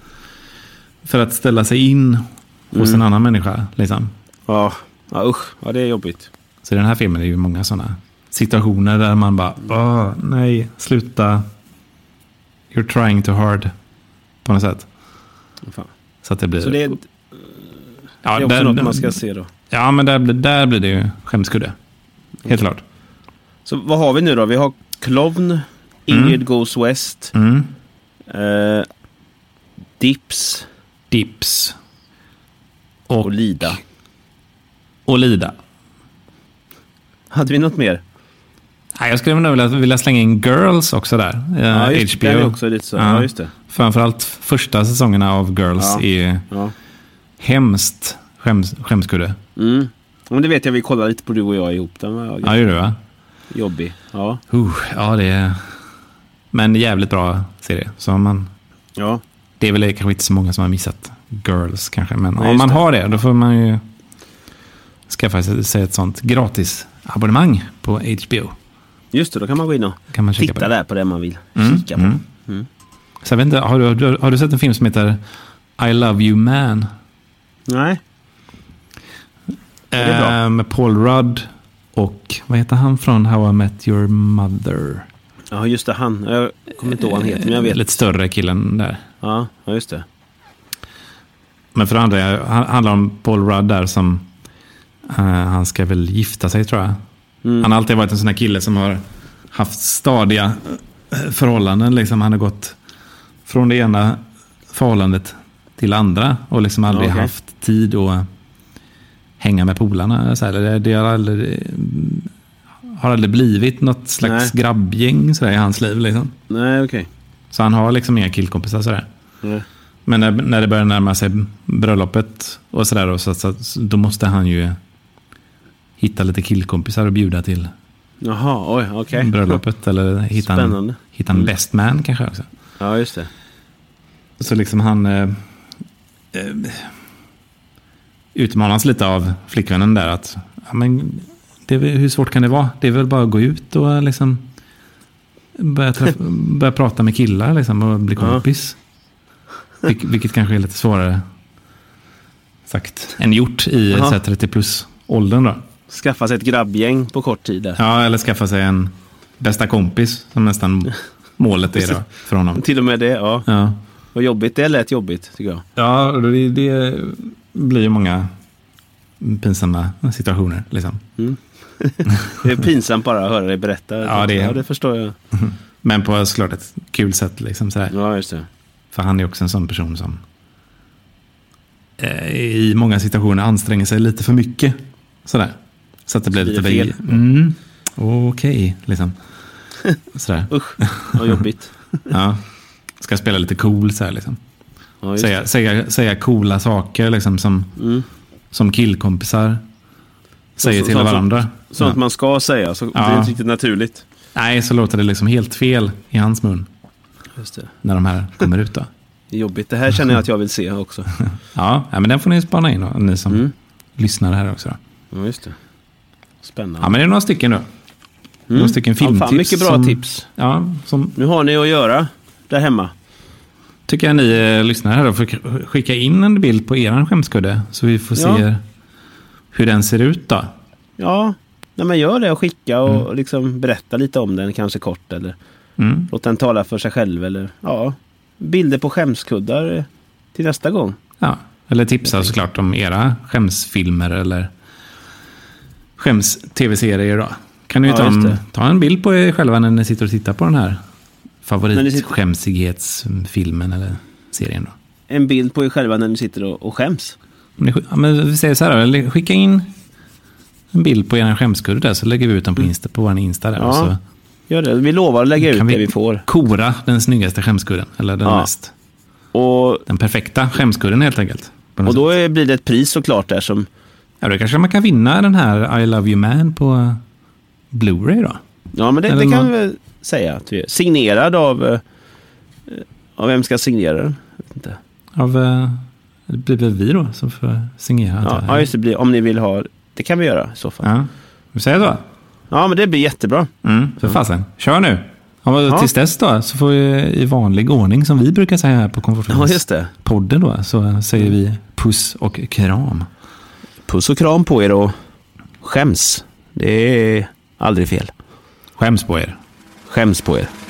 för att ställa sig in hos Mm. en annan människa. Liksom. Ja. ja, usch. Ja, det är jobbigt. Så i den här filmen är det ju många sådana situationer där man bara, Åh, nej, sluta. You're trying too hard. På något sätt. Fan. Så att det blir... Så det är, det ja, är också där- något man ska se då. Ja, men där, blir- där blir det ju skämskudde. Helt klart. Så vad har vi nu då? Vi har Klovn, Ingrid Goes West, Mm. eh, Dips Dips. och Lida. Och lida. Hade vi något mer? Nej, jag skulle nog vilja, vilja slänga in Girls också där. Eh, Ja, just, HBO. Den är också lite så. Ja, just det. Framförallt första säsongerna av Girls Ja. är Ja. hemskt skäms, skämskudde. Mm. Ja, Men det vet jag, vi kollade lite på du och jag ihop. Den var Ja, det gör det va? jobbig. Ja. Uh, ja, det är... Men jävligt bra serie. Så om man, ja. det är väl kanske inte så många som har missat Girls kanske. Men Nej, om just man det. har det, då får man ju skaffa sig- sig ett sånt gratis abonnemang på HBO. Just det, då kan man gå in och Kan man kika titta på det. där på det man vill kika på. Mm. Så jag vet inte, har, du, har, du, har du sett en film som heter I Love You Man? Nej. det är bra. Eh, med Paul Rudd och vad heter han från How I Met Your Mother? Ja, just det. Han. Jag kommer inte ihåg vad han heter, men jag vet. Eh, Lite större killen där. Ja, ja just det. Men för det andra han, handlar om Paul Rudd där som eh, han ska väl gifta sig tror jag. Mm. Han har alltid varit en sån här kille som har haft stadiga eh, förhållanden. Liksom, han har gått från det ena förhållandet till det andra och liksom aldrig Okej. haft tid att hänga med polarna. Så här, det, det har, aldrig, har aldrig blivit något slags Nej. grabbgäng så där, i hans liv. Liksom. Nej, okej. Så han har liksom inga killkompisar. Så där. Nej. Men när, när det börjar närma sig bröllopet och sådär, då, så, så, så, då måste han ju hitta lite killkompisar och bjuda till Jaha, oj, okej. bröllopet. Eller hitta en, Eh. Spännande. hitta en best man kanske också. Ja, just det. Så liksom han eh, eh, utmanas lite av flickvännen där. att ja, men, det, är väl- Hur svårt kan det vara? Det är väl bara att gå ut och eh, liksom börja, [laughs] träff- börja prata med killar liksom, och bli Ja. kompis. Vil, vilket kanske är lite svårare sagt än gjort i Ja. så här 30 plus-åldern. Då. Skaffa sig ett grabbgäng på kort tid där. Ja, eller skaffa sig en bästa kompis som nästan målet är då, för honom. Till och med det, ja. Ja. Vad jobbigt. Det lät jobbigt, tycker jag. Ja, och det, det blir ju många pinsamma situationer. Liksom. Det är pinsamt bara att höra dig berätta. Ja, det är- ja, det förstår jag. Men på såklart ett kul sätt. Liksom, sådär. Ja, just det. För han är också en sån person som eh, i många situationer anstränger sig lite för mycket. Sådär. Så att det blir blir lite... det väl- Mm, Okej, [laughs] liksom. Sådär. Usch, vad jobbigt. Ja. Ska spela lite cool så här liksom. Ja, just det. Mm. Säga, säga, säga coola saker liksom som, som killkompisar säger så- till sånt som- varandra. Sånt man ska säga, så det är Ja. inte riktigt naturligt. Nej, så låter det liksom helt fel i hans mun Just det. när de här kommer ut. Då. [laughs] Jobbigt. Det här känner jag att jag vill se också. Ja, ja, men den får ni spana in, då, ni som Mm. lyssnar här också. Då. Ja, just det. Ja, Spännande. men det är några stycken då. Några stycken Mm. Ja, filmtips. fan, mycket bra som, tips. Ja, som Nu har ni att göra där hemma. tycker jag ni eh, lyssnare här då får skicka in en bild på er skämskudde. Så vi får Ja. se hur den ser ut då. Ja, nej, men gör det och skicka och liksom berätta lite om den kanske kort eller Mm. låt den tala för sig själv eller ja, bilder på skämskuddar eh, till nästa gång. Ja. Eller tipsa såklart om era skämsfilmer eller skäms-tv-serier då. Kan ni ju Ja, ta, just en, det. ta en bild på er själva när ni sitter och tittar på den här ni sitter- favoritskämsighetsfilmen eller serien då. En bild på er själva när ni sitter och, och skäms. Om ni sk- Ja, men vi säger så här då, eller skicka in en bild på er skämskudde där så lägger vi ut den på, Insta, på vår Insta där. Mm. Ja. Och så Gör det. Vi lovar att lägga Kan ut det vi- vi får. kora den snyggaste skämskudden. Eller den Ja. mest. Och, Den perfekta skämskudden helt enkelt. På något och då är, blir det ett pris såklart där som... sätt. Ja, då kanske man kan vinna den här I Love You Man på eh, Blu-ray då. Ja, men det, Eller det kan någon- vi väl säga att vi är. Signerad av... eh, eh, Av vem ska signera den? Jag vet Inte. Av, eh, det blir väl vi då som får signera. Ja, antar jag. ja, just det. blir- Om ni vill ha... Det kan vi göra i så fall. Ja. Vi säger så. Ja, men det blir jättebra. Mm, för fasen. Kör nu. Ja, men Ja. Tills dess då, så får vi i vanlig ordning som vi brukar säga här på Ja, just det. Konfessionsspodden då, så säger vi puss och kram. Puss och kram på er och skäms. Det är aldrig fel. Skäms på er. Skäms på er.